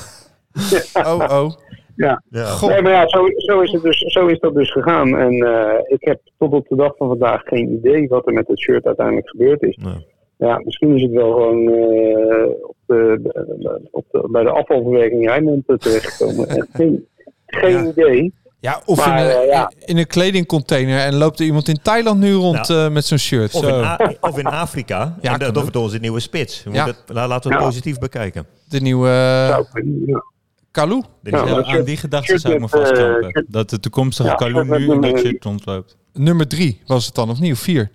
S4: Oh, oh.
S9: Ja.
S6: Ja.
S4: God.
S9: Nee, maar ja, zo, zo, is het dus, zo is dat dus gegaan. En eh, ik heb tot op de dag van vandaag geen idee wat er met dat shirt uiteindelijk gebeurd is.
S6: Nee.
S9: Ja, misschien is het wel gewoon eh, op de, op de, bij de afvalverwerking in Rijnmond terechtgekomen. Eh, geen geen idee.
S4: Ja, of
S9: Maar,
S4: in, een,
S9: eh, ja.
S4: in een kledingcontainer en loopt er iemand in Thailand nu rond eh, met zo'n shirt.
S6: Of in,
S4: Zo.
S6: A- of in Afrika.
S4: Ja,
S6: en
S4: kan
S6: dat, dat
S4: ook.
S6: wordt onze nieuwe spits. We
S4: Ja.
S6: moeten het- la- laten we het
S9: Ja.
S6: positief bekijken.
S4: De nieuwe
S9: Ja,
S4: eh,
S9: ja.
S4: Kalu.
S6: Dit is-
S9: Ja.
S7: Ja, aan die gedachte zou ik me vastkampen. Dat de toekomstige
S9: Ja,
S7: Kalou nu in dat shirt rondloopt.
S4: Nummer drie was het dan, of niet? Of vier?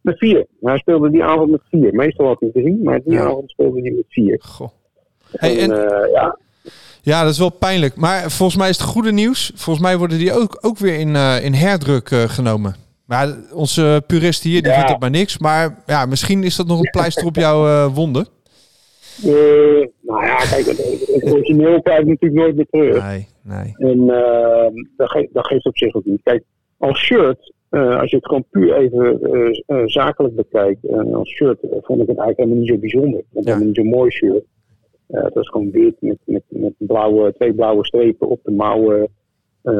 S9: Met vier. Hij speelde die avond met vier. Meestal had hij drie, maar die
S4: Ja.
S9: avond speelde hij met vier.
S4: Goh. Hey, en,
S9: eh, ja,
S4: ja, dat is wel pijnlijk. Maar volgens mij is het goede nieuws. Volgens mij worden die ook, ook weer in, eh, in herdruk eh, genomen. Maar onze puristen hier, die
S9: Ja.
S4: vindt dat maar niks. Maar ja, misschien is dat nog een pleister op jouw eh, wonden.
S9: eh, nou ja, kijk, het- het origineel krijg je natuurlijk nooit meer terug.
S4: Nee, nee.
S9: En eh, dat, ge- dat geeft op zich ook niet. Kijk, als shirt, eh, als je het gewoon puur even eh, eh, zakelijk bekijkt, eh, als shirt eh, vond ik het eigenlijk helemaal niet zo bijzonder. Ik vond het
S4: Ja.
S9: helemaal niet zo'n mooi shirt. Eh, het was gewoon wit met, met, met blauwe, twee blauwe strepen op de mouwen. Eh,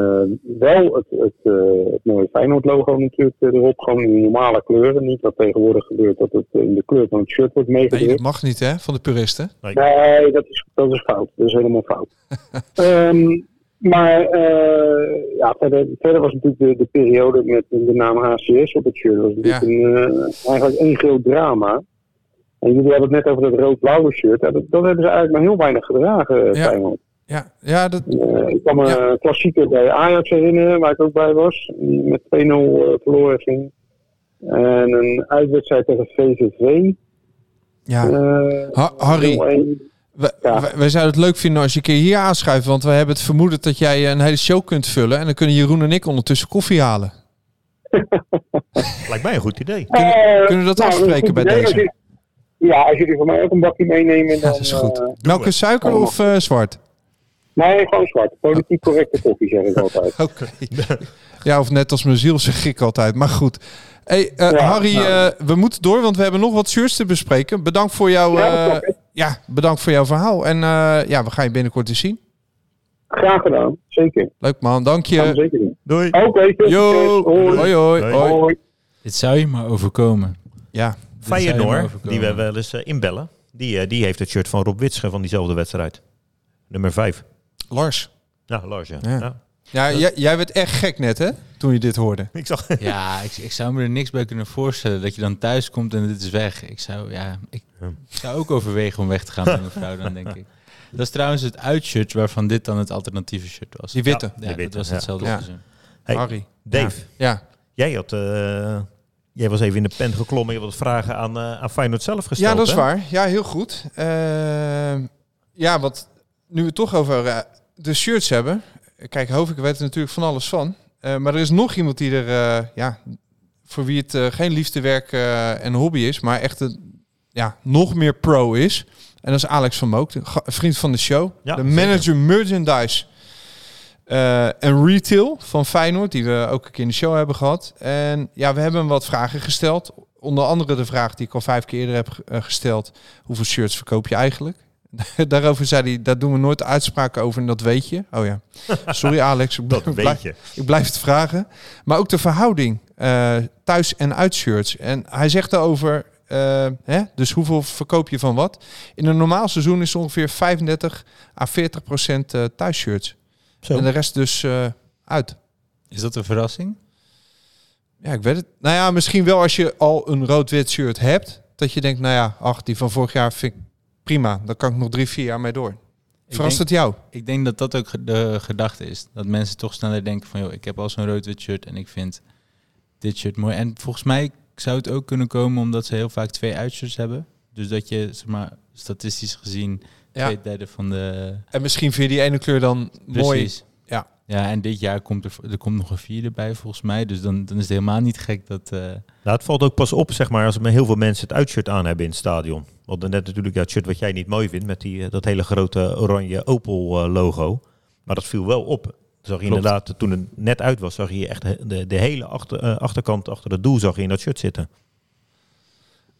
S9: wel het, het, eh, het mooie Feyenoord logo natuurlijk eh, erop, gewoon in normale kleuren. Niet wat tegenwoordig gebeurt dat het eh, in de kleur van het shirt wordt
S4: Nee,
S9: meegedrukt.
S4: dat mag niet, hè, van de puristen.
S9: Nee, dat is, dat is fout. Dat is helemaal fout. Ehm, maar eh, ja, verder, verder was natuurlijk de, de periode met de naam HCS op het shirt. Dat was natuurlijk
S4: Ja.
S9: een, eh, eigenlijk één groot drama. En jullie hebben het net over dat rood-blauwe shirt. Ja, dat, dat hebben ze eigenlijk maar heel weinig gedragen,
S4: Ja.
S9: Feyenoord.
S4: Ja, ja dat,
S9: Eh, ik kan me
S4: Ja.
S9: een klassieker bij Ajax herinneren, waar ik ook bij was. Die met 2-0 eh, verloren ging. En een uitwedstrijd tegen VVV.
S4: ja.
S9: eh,
S4: Ha- Harry,
S9: 0-1.
S4: We-
S9: Ja.
S4: Wij, wij zouden het leuk vinden als je een keer hier aanschuift. Want we hebben het vermoeden dat jij eh, een hele show kunt vullen. En dan kunnen Jeroen en ik ondertussen koffie halen.
S6: Lijkt mij een goed idee.
S9: Eh,
S4: kunnen we dat
S9: is
S4: afspreken
S9: goed
S4: bij
S9: idee.
S4: deze?
S9: Als jullie- ja, als jullie voor mij ook een bakje meenemen, dan...
S4: dat is goed.
S9: eh,
S4: Melk en suiker
S9: Kom
S4: of eh, zwart?
S9: nee, gewoon zwart. Politiek correcte koffie, zeg ik altijd.
S4: Oké. ja, of net als mijn ziel zeg ik altijd. Maar goed. Hey, eh,
S9: Ja,
S4: Harry,
S9: nou.
S4: eh, we moeten door, want we hebben nog wat shirts te bespreken. Bedankt voor, jouw,
S9: Ja, dat
S4: eh,
S9: klopt,
S4: ja, bedankt voor jouw verhaal. En eh, ja, we gaan je binnenkort eens zien.
S9: Graag gedaan, zeker.
S4: Leuk man, dank
S9: Gaan we
S4: je.
S9: zeker doen.
S6: Doei.
S9: Oké, tot
S4: Yo,
S9: ziens.
S4: hoi hoi. hoi.
S9: Hoi.
S7: Dit zou je maar overkomen.
S4: Ja,
S7: Dit zou je maar
S6: Feyenoord,
S7: overkomen.
S6: die we wel eens eh, inbellen, die, eh, die heeft het shirt van Rob Witsche van diezelfde wedstrijd. Nummer 5.
S4: Lars.
S6: Ja, Lars, ja.
S4: Ja.
S6: Ja.
S4: Ja, jij, jij werd echt gek net, hè? Toen je dit hoorde.
S6: Ik zag...
S7: Ja, ik, ik zou me er niks bij kunnen voorstellen. Dat je dan thuis komt en dit is weg. Ik zou, ja, ik, ik zou ook overwegen om weg te gaan met mijn vrouw dan, denk ik. Dat is trouwens het uitshirt waarvan dit dan het alternatieve shirt was.
S4: Die witte.
S7: Ja,
S6: Die witte,
S7: dat was
S6: ja.
S7: hetzelfde
S4: Ja.
S7: seizoen.
S6: Hey,
S4: Harry.
S6: Dave,
S4: Ja,
S6: jij had eh, Jij was even in de pen geklommen. Je had wat vragen aan, eh aan Feyenoord zelf gesteld.
S4: Ja, dat is
S6: hè?
S4: waar. Ja, heel goed. Eh, ja, wat nu we het toch over eh, de shirts hebben. Kijk, Hovink weet er natuurlijk van alles van. Eh, maar er is nog iemand die er, eh, ja, voor wie het eh, geen liefdewerk eh en hobby is, maar echt een, ja, nog meer pro is. En dat is Alex van Mook, de ga- vriend van de show.
S6: Ja,
S4: de
S6: zeker.
S4: manager merchandise eh, en retail van Feyenoord, die we ook een keer in de show hebben gehad. En ja, we hebben hem wat vragen gesteld. Onder andere de vraag die ik al vijf keer eerder heb ge- eh, gesteld. Hoeveel shirts verkoop je eigenlijk? Daarover zei hij, daar doen we nooit uitspraken over en dat weet je. Oh ja, sorry Alex. ik
S6: Dat
S4: blijf-
S6: weet je.
S4: ik blijf het vragen. Maar ook de verhouding eh, thuis- en uitshirts. En hij zegt daarover, eh, hè, dus hoeveel verkoop je van wat? In een normaal seizoen is het ongeveer 35 à 40 procent eh, thuisshirts.
S6: Zo.
S4: En de rest dus eh, uit.
S7: Is dat een verrassing?
S4: Ja, ik weet het. Nou ja, misschien wel als je al een rood-wit shirt hebt. Dat je denkt, nou ja, ach, die van vorig jaar vind ik prima. Daar kan ik nog drie, vier jaar mee door.
S7: Ik
S4: Verrast
S7: denk,
S4: het jou?
S7: ik denk dat dat ook ge- de gedachte is. Dat mensen toch sneller denken van... joh, ik heb al zo'n rood-wit shirt en ik vind dit shirt mooi. En volgens mij zou het ook kunnen komen omdat ze heel vaak twee uitshirts hebben. Dus dat je, zeg maar, statistisch gezien...
S4: Ja.
S7: twee derde van de...
S4: En misschien vind je die ene kleur dan mooi.
S7: Precies.
S4: Ja.
S7: Ja, en dit jaar komt er, er komt nog een vierde bij volgens mij. Dus dan, dan is het helemaal niet gek dat... eh,
S6: Nou, het valt ook pas op, zeg maar, als er heel veel mensen het uitshirt aan hebben in het stadion. Want dan net natuurlijk dat shirt wat jij niet mooi vindt, met die, eh, dat hele grote oranje Opel-logo. maar dat viel wel op. Zag je
S7: Klopt.
S6: inderdaad, eh, toen het net uit was, zag je echt he- de, de hele achter, eh, achterkant achter het doel zag je in dat shirt zitten.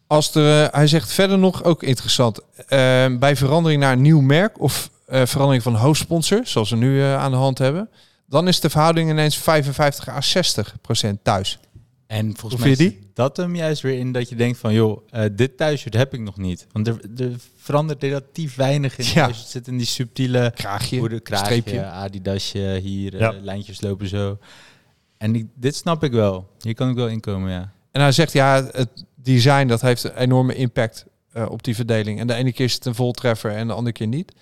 S4: Als er, eh, hij zegt verder nog, ook interessant, eh, bij verandering naar een nieuw merk of eh, verandering van hoofdsponsor, zoals we nu eh, aan de hand hebben, dan is de verhouding ineens 55 à 60 procent thuis.
S7: En volgens
S4: Hoe
S7: mij
S4: vind je
S7: zit dat hem juist weer in dat je denkt van... joh, eh, dit thuisshirt heb ik nog niet. Want er, er verandert relatief weinig in
S4: Ja.
S7: het thuisshirt. Het zit in die subtiele
S4: Kraagje,
S7: woede, kraagje,
S4: streepje.
S7: adidasje, hier, eh,
S6: Ja.
S7: lijntjes lopen zo. En ik- dit snap ik wel. Hier kan ik wel inkomen, ja.
S4: En hij zegt, ja, het design dat heeft een enorme impact eh, op die verdeling. En de ene keer is het een voltreffer en de andere keer niet.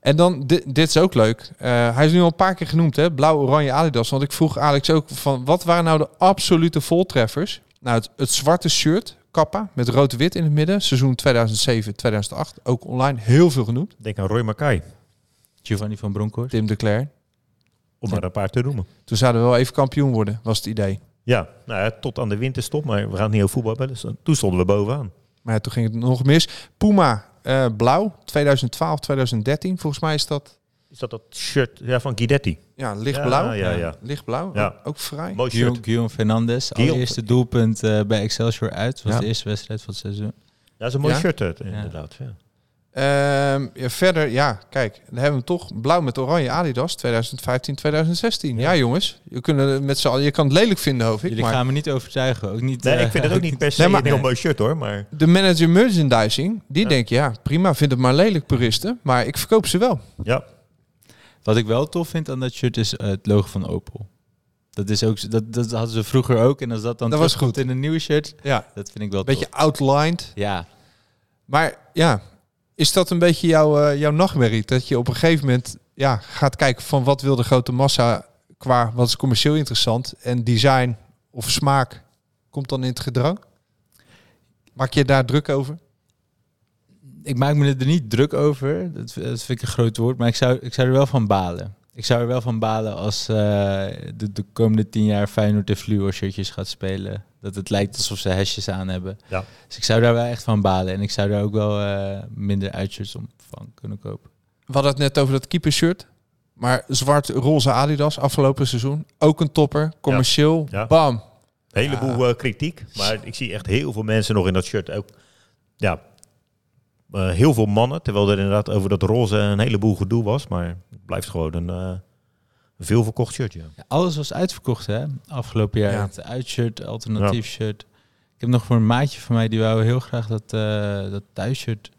S4: En dan, di- dit is ook leuk. Eh, hij is nu al een paar keer genoemd, hè? Blauw, oranje, Adidas. Want ik vroeg Alex ook van, wat waren nou de absolute voltreffers? Nou, het, het zwarte shirt, kappa, met rood-wit in het midden. Seizoen 2007, 2008. Ook online heel veel genoemd.
S6: Denk aan Roy Mackay,
S7: Giovanni van Bronckhorst.
S4: Tim de Cler.
S6: om maar een paar te noemen.
S4: Toen zouden we wel even kampioen worden, was het idee.
S6: Ja, nou ja, tot aan de winterstop, maar we gaan het niet over voetbal hebben. Dus toen stonden we bovenaan.
S4: Maar ja, toen ging het nog mis. Puma, eh, blauw, 2012, 2013. Volgens mij is dat
S6: Is dat dat shirt ja, van Guidetti?
S4: Ja, lichtblauw.
S6: Ja, ja, ja.
S4: Lichtblauw,
S6: Ja.
S4: ook, ook vrij.
S6: Mooi shirt.
S7: Guillaume, Guillaume Fernandes.
S6: Guillaume-
S7: Allereerste doelpunt eh, bij Excelsior uit. was
S4: Ja.
S7: de eerste wedstrijd van het seizoen.
S6: Ja, is een mooi
S4: Ja?
S6: shirt eh, inderdaad. Ja.
S4: Ehm, ja, verder, ja, kijk, dan hebben we hem toch blauw met oranje Adidas 2015, 2016. Ja, jongens, je, kunnen met z'n allen, je kan het lelijk vinden, hoop ik.
S7: Jullie
S4: Maar
S7: gaan me niet overtuigen. Ook niet,
S6: Nee,
S7: eh,
S6: ik vind het ook niet per se
S4: Nee, maar-
S6: een heel mooi shirt hoor, maar...
S4: de manager merchandising, die denkt, ja, prima, vind het maar lelijk, puristen. Maar ik verkoop ze wel.
S6: Ja,
S7: Wat ik wel tof vind aan dat shirt is eh, het logo van Opel. Dat, is ook, dat, dat hadden ze vroeger ook. En als dat dan
S4: Dat was
S7: terugkomt in een nieuw shirt,
S4: Ja,
S7: dat vind ik wel
S4: beetje
S7: tof.
S4: outlined.
S7: Ja,
S4: Maar ja, is dat een beetje jouw, eh, jouw nachtmerrie? Dat je op een gegeven moment ja, gaat kijken van wat wil de grote massa qua wat is commercieel interessant en design of smaak komt dan in het gedrang? Maak je daar druk over?
S7: ik maak me er niet druk over. Dat, eh, dat vind ik een groot woord. Maar ik zou, ik zou er wel van balen. Ik zou er wel van balen als eh, de, de komende tien jaar Feyenoord de fluo shirtjes gaat spelen. Dat het lijkt alsof ze hesjes aan hebben.
S6: Ja.
S7: Dus ik zou daar wel echt van balen. En ik zou daar ook wel eh, minder uitshirts om van kunnen kopen.
S4: We hadden het net over dat keepershirt. Maar zwart-roze Adidas afgelopen seizoen. Ook een topper. Commercieel.
S6: Ja.
S4: Bam.
S6: Een heleboel eh, kritiek. Maar ik zie echt heel veel mensen nog in dat shirt. Ook, ja, eh, heel veel mannen. Terwijl er inderdaad over dat roze een heleboel gedoe was. Maar het blijft gewoon een eh, een veel verkocht shirt. Ja.
S7: Ja, alles was uitverkocht, hè? Afgelopen jaar.
S4: Ja.
S7: Het uitshirt, alternatief shirt. Ik heb nog voor een maatje van mij, die wou heel graag dat, eh dat thuisshirt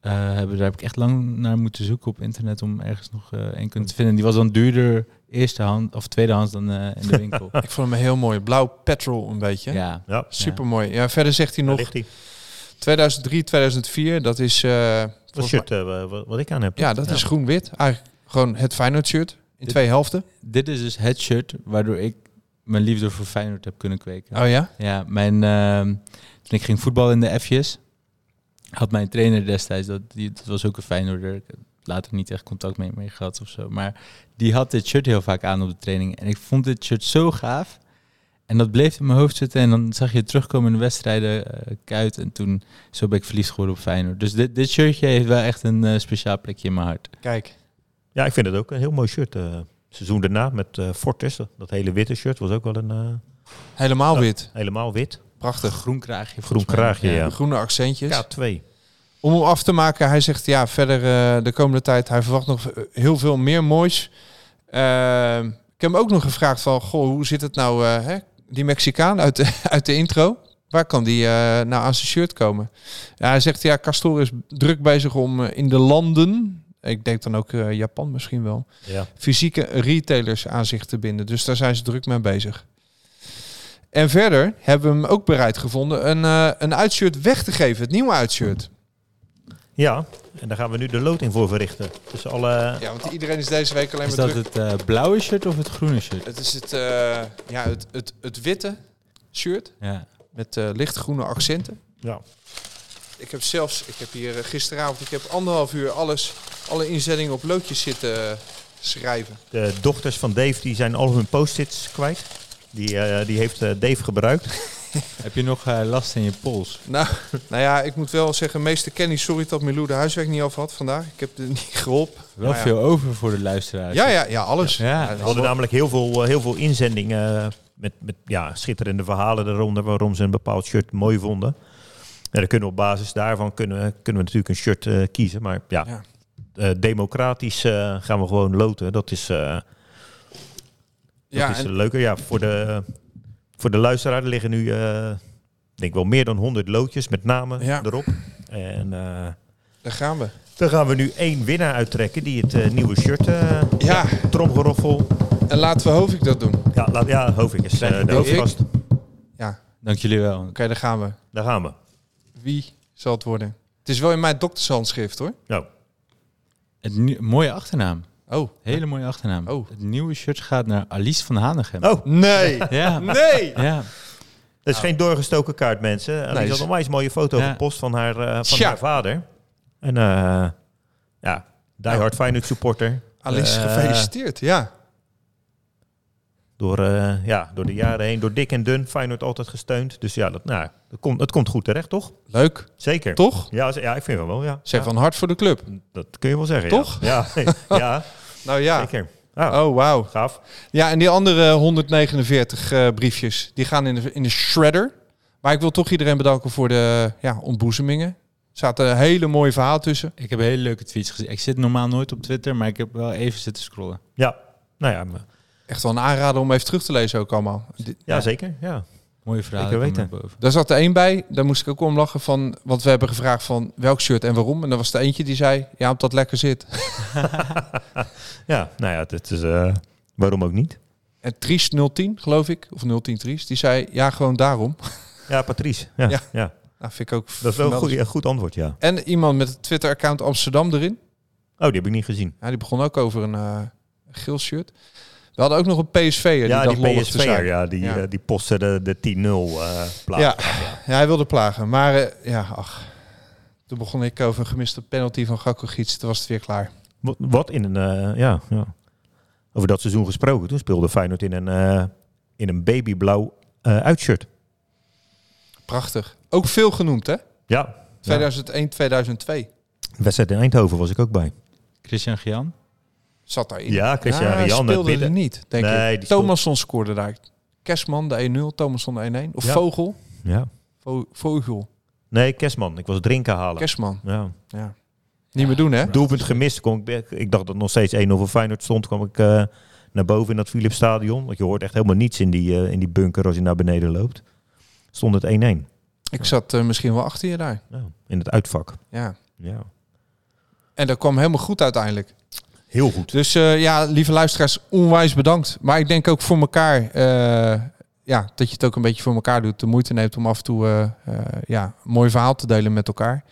S7: eh, hebben. Daar heb ik echt lang naar moeten zoeken op internet om ergens nog eh een kunnen te vinden. Die was dan duurder eerste hand of tweedehands dan eh, in de winkel.
S4: Ik vond hem heel mooi. Blauw petrol een beetje.
S7: ja.
S6: Ja,
S4: Supermooi. Ja, verder zegt hij
S6: daar
S4: nog
S6: ligt hij.
S4: 2003, 2004. Dat is... eh,
S6: Dat
S4: volgens
S6: shirt eh, wat, wat ik aan heb.
S4: Ja, dat is groen-wit. Eigenlijk gewoon het Feyenoord shirt in twee helften.
S7: Dit is dus het shirt waardoor ik mijn liefde voor Feyenoord heb kunnen kweken.
S4: Oh ja?
S7: Ja, mijn, ehm, toen ik ging voetballen in de F's, had mijn trainer destijds, dat, die, dat was ook een Feyenoorder, ik heb later niet echt contact mee, mee gehad of zo, maar die had dit shirt heel vaak aan op de training. En ik vond dit shirt zo gaaf. En dat bleef in mijn hoofd zitten en dan zag je het terugkomen in de wedstrijden, eh kuit. En toen, zo ben ik verliefd geworden op Feyenoord. Dus dit, dit shirtje heeft wel echt een eh, speciaal plekje in mijn hart.
S4: Kijk.
S6: Ja, ik vind het ook een heel mooi shirt. eh, seizoen daarna met eh Fortes, dat hele witte shirt was ook wel een eh,
S4: Helemaal wit.
S6: helemaal wit.
S4: Prachtig.
S7: Groen kraagje.
S6: Groen kraagje, ja.
S4: Groene accentjes.
S6: K2.
S4: Om hem af te maken, hij zegt ja, verder eh, de komende tijd, hij verwacht nog eh, heel veel meer moois. Eh, ik heb hem ook nog gevraagd van, goh, hoe zit het nou, eh, hè? die Mexicaan uit de, uit de intro? Waar kan die eh, nou aan zijn shirt komen? Ja, hij zegt ja, Castor is druk bezig om eh, in de landen, ik denk dan ook eh, Japan misschien wel,
S6: Ja.
S4: fysieke retailers aan zich te binden. Dus daar zijn ze druk mee bezig. En verder hebben we hem ook bereid gevonden een, eh, een uitshirt weg te geven, het nieuwe uitshirt.
S6: ja, en daar gaan we nu de loting voor verrichten. Dus alle...
S4: Ja, want iedereen is deze week alleen
S7: Is
S4: maar
S7: dat
S4: druk.
S7: het eh, blauwe shirt of het groene shirt?
S4: Het, is het, eh, ja, het, het, het witte shirt
S7: Ja.
S4: met eh, lichtgroene accenten.
S6: Ja.
S4: Ik heb zelfs, ik heb hier eh, gisteravond, ik heb anderhalf uur alles, alle inzettingen op loodjes zitten eh, schrijven.
S6: De dochters van Dave die zijn al hun post-its kwijt. Die, eh, die heeft eh, Dave gebruikt.
S7: Heb je nog eh, last in je pols?
S4: Nou, nou ja, ik moet wel zeggen, meester Kenny, sorry dat Milou de huiswerk niet af had vandaag. Ik heb er niet geholpen.
S7: Wel
S4: Maar Nou ja.
S7: veel over voor de luisteraars.
S4: Ja, ja, ja, alles.
S7: Ja.
S6: We hadden namelijk heel veel, eh, heel veel inzendingen eh, met, met ja, schitterende verhalen eronder waarom ze een bepaald shirt mooi vonden. En dan kunnen we op basis daarvan kunnen, we- kunnen we natuurlijk een shirt eh, kiezen. Maar ja,
S4: Ja.
S6: eh, democratisch eh, gaan we gewoon loten. Dat is, eh,
S4: Ja,
S6: dat is
S4: en-
S6: leuker. Ja, voor de, voor de luisteraar er liggen nu eh, ik denk wel meer dan 100 loodjes met namen
S4: Ja.
S6: erop. En eh,
S4: daar gaan we.
S6: dan gaan we nu één winnaar uittrekken die het eh, nieuwe shirt eh
S4: Ja,
S6: tromgeroffel.
S4: en laten we Hovik dat doen. Oké,
S6: Ja, laat, ja Hovink is eh, de
S4: Hovink.
S6: hoofdgast.
S7: Dank jullie wel.
S4: daar gaan we.
S6: Daar gaan we.
S4: Wie zal het worden? Het is wel in mijn doktershandschrift hoor.
S6: Nou,
S7: Het nie- mooie achternaam.
S4: Oh,
S7: Hele mooie achternaam.
S4: Oh.
S7: Het nieuwe shirt gaat naar Alice van Hanegem.
S6: Oh,
S4: nee.
S7: Ja.
S4: Nee!
S7: ja.
S6: dat is geen doorgestoken kaart, mensen. Alice
S4: Nou. Nee,
S6: had
S4: is-
S6: een wijs mooie foto
S7: Ja.
S6: gepost van haar, eh, van
S4: Tja.
S6: haar vader. En eh ja, die
S4: Nou.
S6: hard Feyenoord supporter.
S4: Alice,
S6: Eh,
S4: gefeliciteerd. Ja,
S6: Door, eh, ja, door de jaren heen, door dik en dun, Feyenoord altijd gesteund. Dus ja, dat, nou, dat komt, het komt goed terecht, toch?
S4: leuk.
S6: Zeker.
S4: Toch?
S6: Ja, ze- ja ik vind wel wel, ja.
S4: Zeg
S6: Ja,
S4: van hart voor de club.
S6: Dat kun je wel zeggen,
S4: Toch?
S6: Ja, ja, ja
S4: Nou ja.
S6: zeker. Ja,
S4: Oh, wauw.
S6: gaaf.
S4: Ja, en die andere 149 eh, briefjes, die gaan in de, in de shredder. Maar ik wil toch iedereen bedanken voor de ja, ontboezemingen. Er zaten een hele mooie verhaal tussen.
S7: Ik heb hele leuke tweets gezien. Ik zit normaal nooit op Twitter, maar ik heb wel even zitten scrollen.
S6: Ja, nou ja, maar-
S4: Echt wel een aanrader om even terug te lezen ook allemaal. Di-
S6: ja, zeker. Ja.
S7: Mooie verhalen.
S6: Zeker
S7: komen erboven.
S4: Daar zat er één bij, daar moest ik ook om lachen van... want we hebben gevraagd van welk shirt en waarom. En daar was er eentje die zei, ja, omdat het lekker zit.
S6: ja, nou ja, het is, eh, waarom ook niet?
S4: En Triest 010, geloof ik, of 010 Triest, die zei, ja, gewoon daarom.
S6: Ja, Patrice. Ja,
S4: Ja.
S6: ja.
S4: Nou, vind ik ook...
S6: dat is wel een
S4: vermeldens-
S6: goed, een goed antwoord, ja.
S4: En iemand met het Twitter-account Amsterdam erin.
S6: Oh, die heb ik niet gezien.
S4: Ja, die begon ook over een eh geel shirt. We hadden ook nog een PSV'er die
S6: ja,
S4: dacht
S6: die
S4: lollig te
S6: PSV'er,
S4: zijn.
S6: ja, die,
S4: Ja.
S6: eh, die postte de, de 10-0 eh plaat.
S4: Ja. Ja, hij wilde plagen. Maar eh, ja, ach. Toen begon ik over een gemiste penalty van Gakko Giets. Toen was het weer klaar.
S6: Wat, wat in een... eh, ja, ja. Over dat seizoen gesproken. Toen speelde Feyenoord in een, eh, in een babyblauw eh, uitshirt.
S4: Prachtig. Ook veel genoemd, hè?
S6: Ja.
S4: 2001, 2002
S6: De wedstrijd in Eindhoven was ik ook bij.
S7: Christian Gian.
S4: zat daarin.
S6: Ja, Christian
S4: Ja,
S6: Rian.
S4: speelde er niet, denk
S6: Nee,
S4: ik.
S6: die stond-
S4: Thomasson scoorde daar. Kerstman de 1-0, Thomasson de 1-1. Of
S6: Ja.
S4: Vogel.
S6: Ja.
S4: Vo- Vogel.
S6: Nee, Kerstman. Ik was drinken halen.
S4: Kerstman.
S6: Ja.
S4: Niet meer doen, hè?
S6: Doelpunt gemist. Kon ik, ik dacht dat nog steeds 1-0 voor Feyenoord stond. kwam ik eh, naar boven in dat Philips Stadion. Want je hoort echt helemaal niets in die, eh, in die bunker als je naar beneden loopt. Stond het 1-1.
S4: Ik zat eh, misschien wel achter je daar.
S6: Ja, in het uitvak.
S4: Ja.
S6: Ja.
S4: En dat kwam helemaal goed uiteindelijk.
S6: Heel goed.
S4: Dus eh, ja, lieve luisteraars, onwijs bedankt. Maar ik denk ook voor elkaar, eh, ja, dat je het ook een beetje voor elkaar doet. De moeite neemt om af en toe eh, eh, ja, een mooi verhaal te delen met elkaar.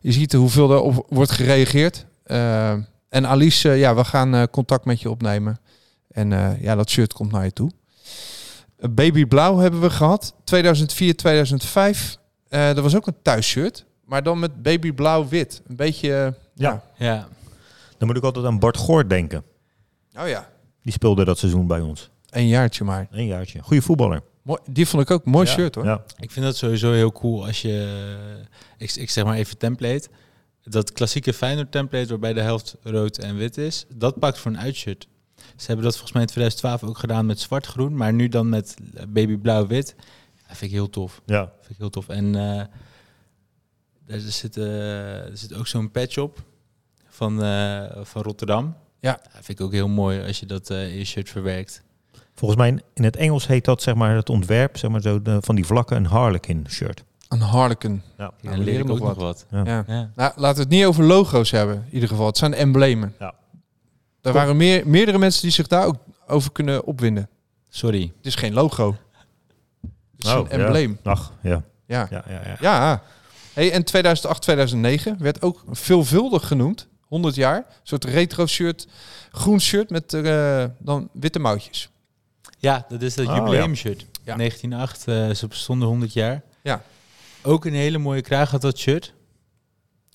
S4: Je ziet hoeveel er op wordt gereageerd. Eh, en Alice, eh, ja, we gaan eh, contact met je opnemen. En eh, ja, dat shirt komt naar je toe. Baby Blauw hebben we gehad. 2004, 2005. Eh dat was ook een thuisshirt. Maar dan met Baby Blauw wit. Een beetje... eh,
S6: Ja.
S7: Ja.
S6: Dan moet ik altijd aan Bart Goort denken.
S4: oh ja,
S6: Die speelde dat seizoen bij ons.
S4: een jaartje maar.
S6: Een jaartje. Goede voetballer.
S4: Mooi, die vond ik ook mooi
S6: Ja.
S4: shirt hoor.
S6: Ja.
S7: Ik vind dat sowieso heel cool als je, eh, ik, ik zeg maar even template, dat klassieke Feyenoord template waarbij de helft rood en wit is, dat pakt voor een uitshirt. Ze hebben dat volgens mij in 2012 ook gedaan met zwart-groen, maar nu dan met baby blauw-wit. Dat vind ik heel tof.
S6: ja.
S7: Vind ik heel tof. En eh, daar zit, eh, er zit ook zo'n patch op van, eh, van Rotterdam.
S4: Ja. Nou,
S7: Dat vind ik ook heel mooi als je dat eh, in je shirt verwerkt.
S6: Volgens mij in- in het Engels heet dat zeg maar het ontwerp zeg maar zo de- van die vlakken een Harlequin shirt.
S4: Een Harlequin.
S6: Ja.
S7: en dan leer
S4: leren
S7: ik ook
S4: nog
S7: nog wat.
S4: Ja.
S7: Ja.
S4: Nou, laten we het niet over logo's hebben, in ieder geval. Het zijn emblemen.
S6: Ja.
S4: Er waren meer, meerdere mensen die zich daar ook over kunnen opwinden.
S7: Sorry.
S4: Het is geen logo. Het is een embleem.
S6: Nou, Ja. Ach, ja.
S4: Ja. Ja.
S6: Ja, ja, ja.
S4: Hey, en 2008, 2009 werd ook veelvuldig genoemd. 100 jaar. Een soort retro shirt. Groen shirt met eh, dan witte mouwtjes.
S7: Ja, dat is dat
S6: Oh,
S7: jubileumshirt.
S4: Ja.
S7: 1908, eh, ze bestonden 100 jaar.
S4: Ja.
S7: Ook een hele mooie kraag had dat shirt.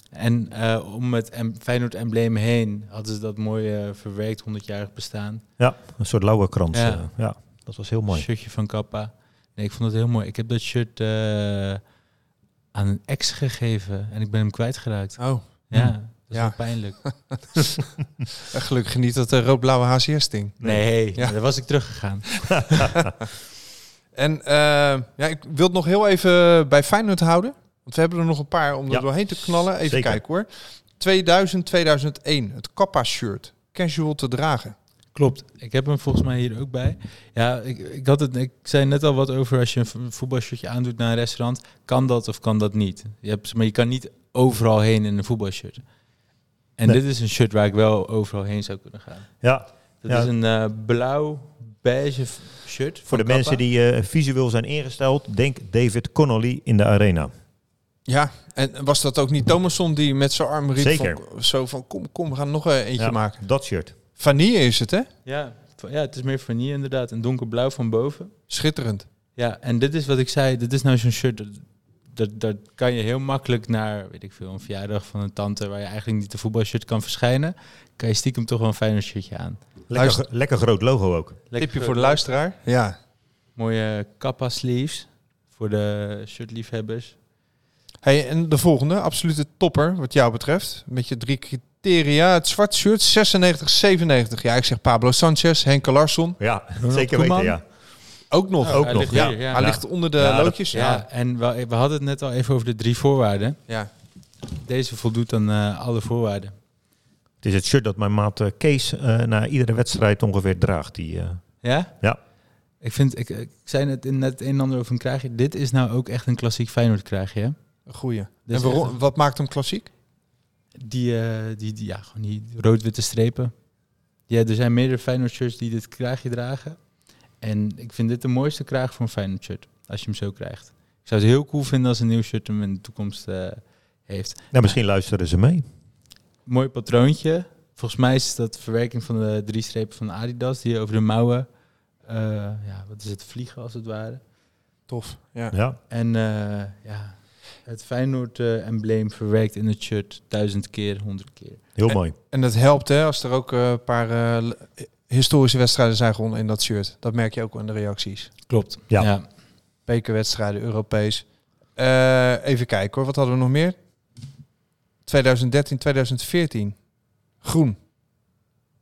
S7: En eh, om het em- Feyenoord-embleem heen hadden ze dat mooi eh, verwerkt, 100-jarig bestaan.
S6: Ja, een soort lauwerkrans.
S7: Ja.
S6: Ja. ja, dat was heel mooi.
S7: Shirtje van Kappa. Nee, ik vond het heel mooi. Ik heb dat shirt eh, aan een ex gegeven en ik ben hem kwijtgeraakt.
S4: Oh.
S7: Ja, dat is
S4: Ja.
S7: wel pijnlijk.
S4: Gelukkig niet dat eh, rood-blauwe HCS-ding.
S7: Nee,
S4: Ja.
S7: daar was ik teruggegaan.
S4: En eh, ja, ik wil het nog heel even bij Feyenoord houden. Want we hebben er nog een paar om er
S6: Ja.
S4: doorheen te knallen. Even
S6: Zeker.
S4: kijken hoor. 2000, 2001. Het Kappa-shirt. Casual te dragen.
S7: Klopt. Ik heb hem volgens mij hier ook bij. Ja, ik, ik, had het, ik zei net al wat over als je een vo- voetbalshirtje aandoet naar een restaurant. Kan dat of kan dat niet? Je hebt, maar je kan niet overal heen in een voetbalshirt. En
S6: Nee.
S7: dit is een shirt waar ik wel overal heen zou kunnen gaan.
S6: Ja,
S7: Dat
S6: Ja.
S7: is een eh, blauw-beige v- shirt.
S6: voor de mensen die eh, visueel zijn ingesteld, denk David Connolly in de arena.
S4: Ja, en was dat ook niet Thomasson die met zijn arm riep
S6: Zeker.
S4: van, zo van kom, kom, we gaan nog eh, eentje
S6: Ja,
S4: maken.
S6: Dat shirt.
S4: Vanille is het hè?
S7: Ja, van- ja, het is meer vanille inderdaad. Een donkerblauw van boven.
S4: Schitterend.
S7: Ja, en dit is wat ik zei. Dit is nou zo'n shirt. Dat, dat, dat kan je heel makkelijk naar, weet ik veel, een verjaardag van een tante waar je eigenlijk niet de voetbalshirt kan verschijnen. Kan je stiekem toch wel een fijner shirtje aan.
S6: Lekker, gro- lekker groot logo ook.
S7: Lekker
S4: Tipje voor de luisteraar. Ja.
S7: Mooie kappa sleeves voor de shirtliefhebbers.
S4: Hey, en de volgende, absolute topper wat jou betreft. Met je drie criteria. Het zwart shirt 96, 97. Ja, ik zeg Pablo Sanchez, Henke Larsson.
S6: Ja, zeker weten. Ja.
S4: Ook nog.
S6: Ook
S7: hij
S6: nog.
S7: ligt
S6: Ja.
S7: hier, ja.
S4: Hij ligt onder de
S6: Ja, dat-
S4: loodjes.
S7: Ja, en we, we hadden het net al even over de drie voorwaarden.
S4: ja.
S7: Deze voldoet aan eh, alle voorwaarden.
S6: Het is het shirt dat mijn maat eh, Kees eh, na iedere wedstrijd ongeveer draagt. Die, eh,
S7: Ja?
S6: Ja.
S7: Ik, vind, ik, ik zei net, in, net het een en ander over een kraagje. Dit is nou ook echt een klassiek Feyenoord kraagje. hè?
S4: Een goeie. Dus
S7: Dit is
S4: en waarom-
S7: echt
S4: wat maakt hem klassiek?
S7: Die, eh, die, die, ja, gewoon die rood-witte strepen. Ja, er zijn meerdere Feyenoord shirts die dit kraagje dragen. En ik vind dit de mooiste kraag voor een Feyenoord shirt, als je hem zo krijgt. Ik zou het heel cool vinden als een nieuw shirt hem in de toekomst eh, heeft.
S6: nou, misschien luisteren ze mee.
S7: Mooi patroontje. Volgens mij is dat verwerking van de drie strepen van Adidas, die over de mouwen, eh, ja, wat is het, vliegen als het ware.
S4: Tof. Ja.
S6: Ja.
S7: En eh, ja, het Feyenoord-embleem verwerkt in het shirt duizend keer, honderd keer.
S6: Heel mooi.
S4: En dat helpt hè, als er ook eh, een paar eh, l- historische wedstrijden zijn gewonnen in dat shirt. Dat merk je ook aan de reacties.
S7: Klopt.
S6: Ja.
S7: ja.
S4: Bekerwedstrijden, Europees. Eh, even kijken hoor, wat hadden we nog meer? 2013, 2014. Groen.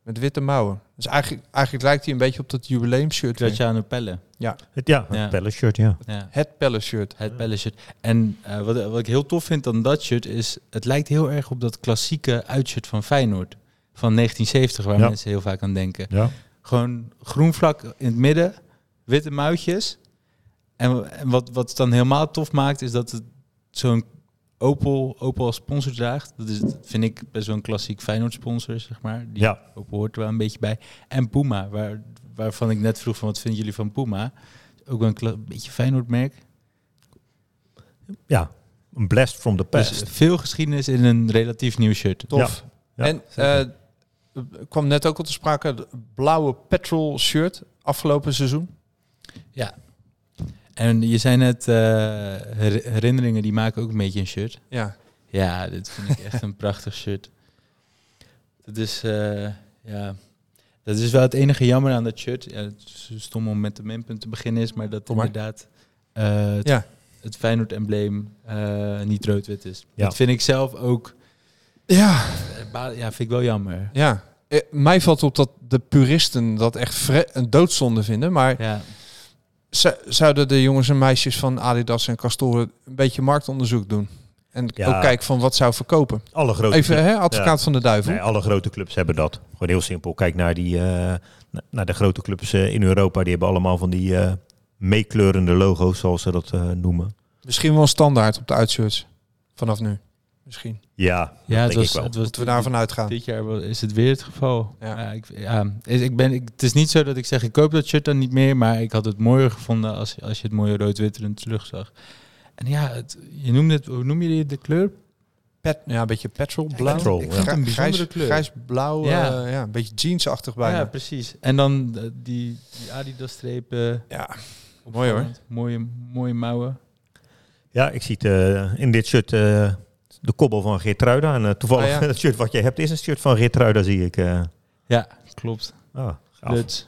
S4: Met witte mouwen. Dus eigenlijk, eigenlijk lijkt hij een beetje op dat jubileumshirt. weer.
S7: Graciano Pelle.
S6: Het, ja,
S7: Ja.
S6: het Palace shirt, ja.
S7: Ja,
S4: Het Palace shirt.
S7: het Pelle shirt. En eh, wat, wat ik heel tof vind aan dat shirt is... het lijkt heel erg op dat klassieke uitshirt van Feyenoord. Van 1970, waar
S6: Ja.
S7: mensen heel vaak aan denken.
S6: ja.
S7: Gewoon groen vlak in het midden, witte muitjes. En, en wat, wat het dan helemaal tof maakt, is dat het zo'n Opel, Opel als sponsor draagt. Dat is, dat vind ik, best wel een klassiek Feyenoord sponsor, zeg maar. Die
S6: Ja.
S7: Opel hoort er wel een beetje bij. En Puma, waar, waarvan ik net vroeg van wat vinden jullie van Puma? Ook wel een kla- beetje Feyenoord merk.
S6: ja. Een blast from the past.
S7: Dus veel geschiedenis in een relatief nieuw shirt.
S4: Tof.
S6: Ja,
S4: en eh, kwam net ook al te sprake, het blauwe petrol shirt afgelopen seizoen.
S7: Ja. En je zei net, eh, her- herinneringen die maken ook een beetje een shirt.
S4: Ja.
S7: Ja, dit vind ik echt een prachtig shirt. Dat is, eh, ja, dat is wel het enige jammer aan dat shirt. Ja, het is stom om met de minpunt te beginnen is, maar dat
S4: Kom maar.
S7: inderdaad eh, het,
S4: Ja.
S7: het Feyenoord-embleem eh, niet rood-wit is.
S6: Ja.
S7: Dat vind ik zelf ook,
S4: Ja.
S7: eh, ba- ja, vind ik wel jammer.
S4: ja. Eh, Mij valt op dat de puristen dat echt vre- een doodzonde vinden. Maar
S7: Ja,
S4: Zou- zouden de jongens en meisjes van Adidas en Castoren een beetje marktonderzoek doen? En
S6: Ja.
S4: ook kijken van wat zou verkopen.
S6: Alle grote
S4: eh, Even,
S6: clubs-
S4: hè, advocaat van de duivel.
S6: Nee, alle grote clubs hebben dat. Gewoon heel simpel. Kijk naar, die, eh, na- naar de grote clubs eh, in Europa. Die hebben allemaal van die eh, meekleurende logo's, zoals ze dat eh, noemen.
S4: Misschien wel standaard op de uitshirts. Vanaf nu. Misschien.
S6: Ja,
S7: ja
S6: dat denk
S7: het, was,
S6: ik wel.
S7: het was
S4: Moeten we daarvan uitgaan.
S7: Dit jaar wel- is het weer het geval.
S4: Ah. Ja.
S7: Ja. ik, ja, is- ik ben, ik, het is niet zo dat ik zeg, ik koop dat shirt dan niet meer. Maar ik had het mooier gevonden als, als je het mooie rood-witterend terugzag. En ja, het, je noemde het, hoe noem je die, de kleur?
S4: Pet, ja, een beetje petrol. Blauw.
S6: Petrol,
S4: Ik
S6: ja.
S4: vind het een
S7: Grij-
S4: bijzondere
S7: grijs-
S4: kleur. Grijs-blauw. Ja.
S7: Ja.
S4: ja, een beetje jeansachtig
S7: Ja,
S4: bijna.
S7: precies. En dan eh, die, die Adidas-strepen.
S4: Ja. Mooi hoor.
S7: Mooie, mooie mouwen.
S6: Ja, ik zie het eh, in dit shirt eh, de kobbel van Geertruida. En eh, toevallig,
S4: Ah, ja.
S6: het shirt wat je hebt is een shirt van Geertruida, zie ik. eh.
S7: Ja, klopt.
S6: ah, gaaf.
S7: Luts.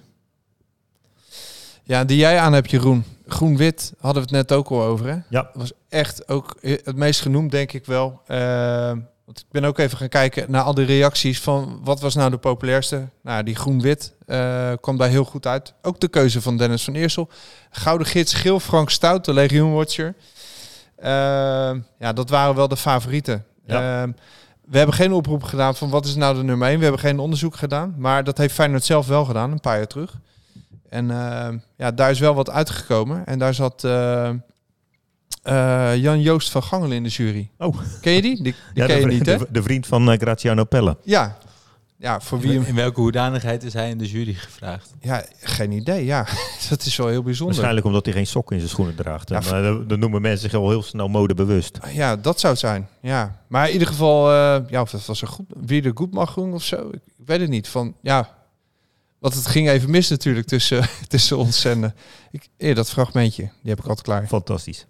S4: Ja, die jij aan hebt, Jeroen. Groen-wit hadden we het net ook al over, hè?
S6: Ja.
S4: Dat was echt ook eh, het meest genoemd, denk ik wel. Eh, want ik ben ook even gaan kijken naar al die reacties van wat was nou de populairste. Nou, die groen-wit eh, kwam daar heel goed uit. Ook de keuze van Dennis van Eersel. Gouden gids Geel Frank Stout, de Legion Watcher. Eh, ja, dat waren wel de favorieten.
S6: Ja.
S4: Eh, we hebben geen oproep gedaan van wat is nou de nummer 1. We hebben geen onderzoek gedaan. Maar dat heeft Feyenoord zelf wel gedaan, een paar jaar terug. En eh, ja, daar is wel wat uitgekomen. En daar zat eh, eh, Jan-Joost van Gangelen in de jury.
S6: Oh.
S4: Ken je die? Die, die
S6: Ja,
S4: ken
S6: de,
S4: je
S6: vri-
S4: niet, hè?
S6: de- de vriend van eh, Graziano Pelle.
S4: Ja. Ja, voor wie hem...
S7: In welke hoedanigheid is hij in de jury gevraagd?
S4: Ja, geen idee. Ja, dat is wel heel bijzonder.
S6: Waarschijnlijk omdat hij geen sokken in zijn schoenen draagt.
S4: Ja,
S6: En, eh, dan, dan noemen mensen zich al heel snel modebewust.
S4: Ja, dat zou het zijn. Ja. Maar in ieder geval, eh, ja, of dat was een goed, wie de goed mag doen of zo. Ik weet het niet. Van, ja, want het ging even mis natuurlijk tussen, tussen ons en... eh, ik, eh, dat fragmentje, die heb ik altijd klaar.
S6: Fantastisch.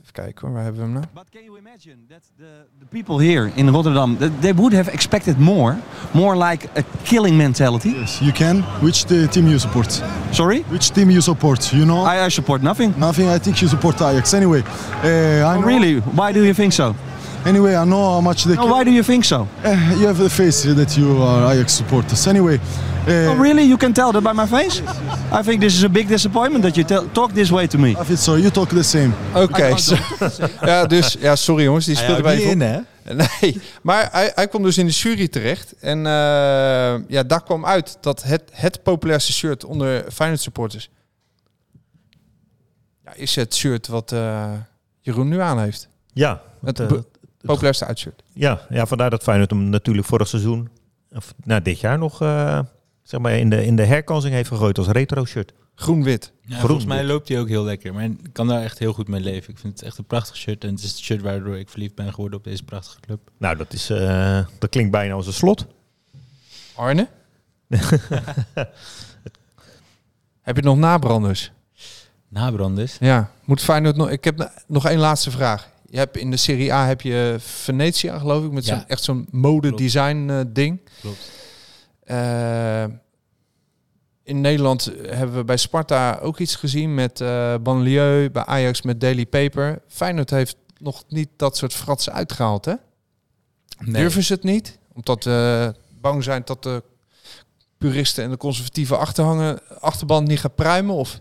S4: Even kijken hoor, waar hebben we hem nou?
S10: But can you imagine that the, the people here in Rotterdam that they would have expected more, more like a killing mentality?
S11: Yes, you can. Which the team you support?
S10: Sorry,
S11: Which team you support? You know
S10: I, I support nothing.
S11: nothing. I think you support Ajax. Anyway, eh, I
S10: Oh,
S11: know-
S10: really? Why do you think so?
S11: Anyway, I know how much they.
S10: No,
S11: care.
S10: why do you think so?
S11: Eh, you have the face that you are Ajax supporters. Anyway. eh,
S10: Oh, really? You can tell that by my face. I think this is a big disappointment that you tell, talk this way to me.
S11: I feel so you talk the same.
S4: Oké, zo- ja, dus, ja, sorry jongens, die speelde bij even op.
S7: hè?
S4: Nee, maar hij, hij kwam dus in de jury terecht. En eh, ja, daar kwam uit dat het, het populairste shirt onder Feyenoord supporters... Ja, is het shirt wat eh, Jeroen nu aan heeft.
S6: Ja,
S4: Het
S6: eh,
S4: be- populairste uitshirt.
S6: Ja, ja, vandaar dat Feyenoord hem natuurlijk vorig seizoen, of nou, dit jaar nog, eh, zeg maar in de, in de herkansing heeft gegooid als retro shirt.
S4: Groen-wit.
S7: Ja,
S6: Groen
S7: volgens mij
S6: wit.
S7: loopt hij ook heel lekker. Maar ik kan daar echt heel goed mee leven. Ik vind het echt een prachtig shirt. En het is het shirt waardoor ik verliefd ben geworden op deze prachtige club.
S6: Nou, dat, is, eh, dat klinkt bijna als een slot.
S4: Arne? Heb je nog nabranders?
S7: Nabranders.
S4: Ja. Moet Feyenoord nog... Ik heb na- nog één laatste vraag. Je hebt in de Serie A heb je Venetia, geloof ik, met
S7: Ja.
S4: zo'n, echt zo'n mode-design eh, ding.
S7: Klopt.
S4: Eh, in Nederland hebben we bij Sparta ook iets gezien met eh Banlieue, bij Ajax met Daily Paper. Feyenoord heeft nog niet dat soort fratsen uitgehaald, hè? Durven ze het niet? Omdat we bang zijn dat de puristen en de conservatieve achterhangen, achterband niet gaat pruimen? Of?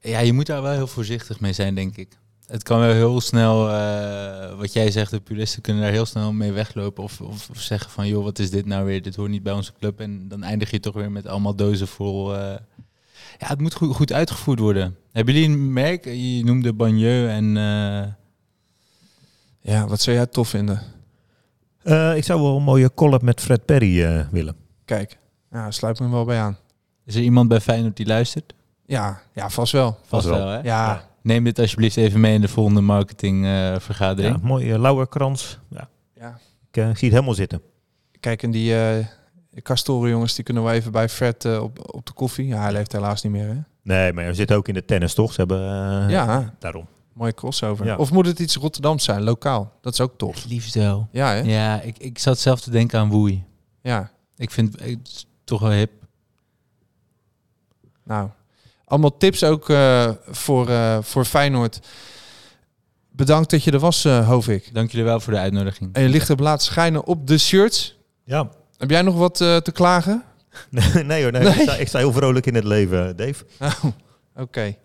S7: Ja, je moet daar wel heel voorzichtig mee zijn, denk ik. Het kan wel heel snel, eh, wat jij zegt, de puristen kunnen daar heel snel mee weglopen. Of, of, of zeggen van, joh, wat is dit nou weer? Dit hoort niet bij onze club. En dan eindig je toch weer met allemaal dozen vol. eh. Ja, het moet goed, goed uitgevoerd worden. Hebben jullie een merk? Je noemde Bagneux en... eh,
S4: Ja, wat zou jij tof vinden?
S6: Eh, ik zou wel een mooie collab met Fred Perry eh, willen.
S4: Kijk, ja, sluit me wel bij aan.
S7: Is er iemand bij Feyenoord die luistert?
S4: Ja, ja vast wel.
S7: Vast
S6: wel.
S7: wel, hè?
S4: Ja,
S7: Neem dit alsjeblieft even mee in de volgende
S6: Ja,
S7: marketingvergadering.
S6: mooie lauwerkrans. Ja.
S4: Ja.
S6: Ik eh, zie het helemaal zitten.
S4: kijk, en die eh Castoren jongens, die kunnen we even bij Fred eh, op, op de koffie. Ja, hij leeft helaas niet meer, hè?
S6: Nee, maar we zitten ook in de tennis, toch? Ze hebben... eh,
S4: Ja,
S6: Daarom.
S4: mooie crossover.
S6: Ja.
S4: Of moet het iets Rotterdams zijn, lokaal? Dat is ook tof.
S7: Liefst wel.
S4: Ja, hè? Ja.
S7: Ja, ik, ik zat zelf te denken aan Woei. Ik vind het toch wel hip.
S4: Nou, allemaal tips ook eh, voor, eh, voor Feyenoord. Bedankt dat je er was, eh Hovik.
S7: Dank jullie wel voor de uitnodiging.
S4: En je licht hebt laten schijnen op de shirts.
S6: Ja.
S4: Heb jij nog wat eh, te klagen?
S6: nee hoor, nee, Ik, sta, ik sta heel vrolijk in het leven, Dave.
S4: Oké.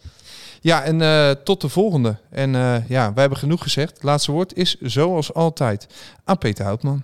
S4: Ja, en eh, tot de volgende. En eh, ja, wij hebben genoeg gezegd. Het laatste woord is zoals altijd aan Peter Houtman.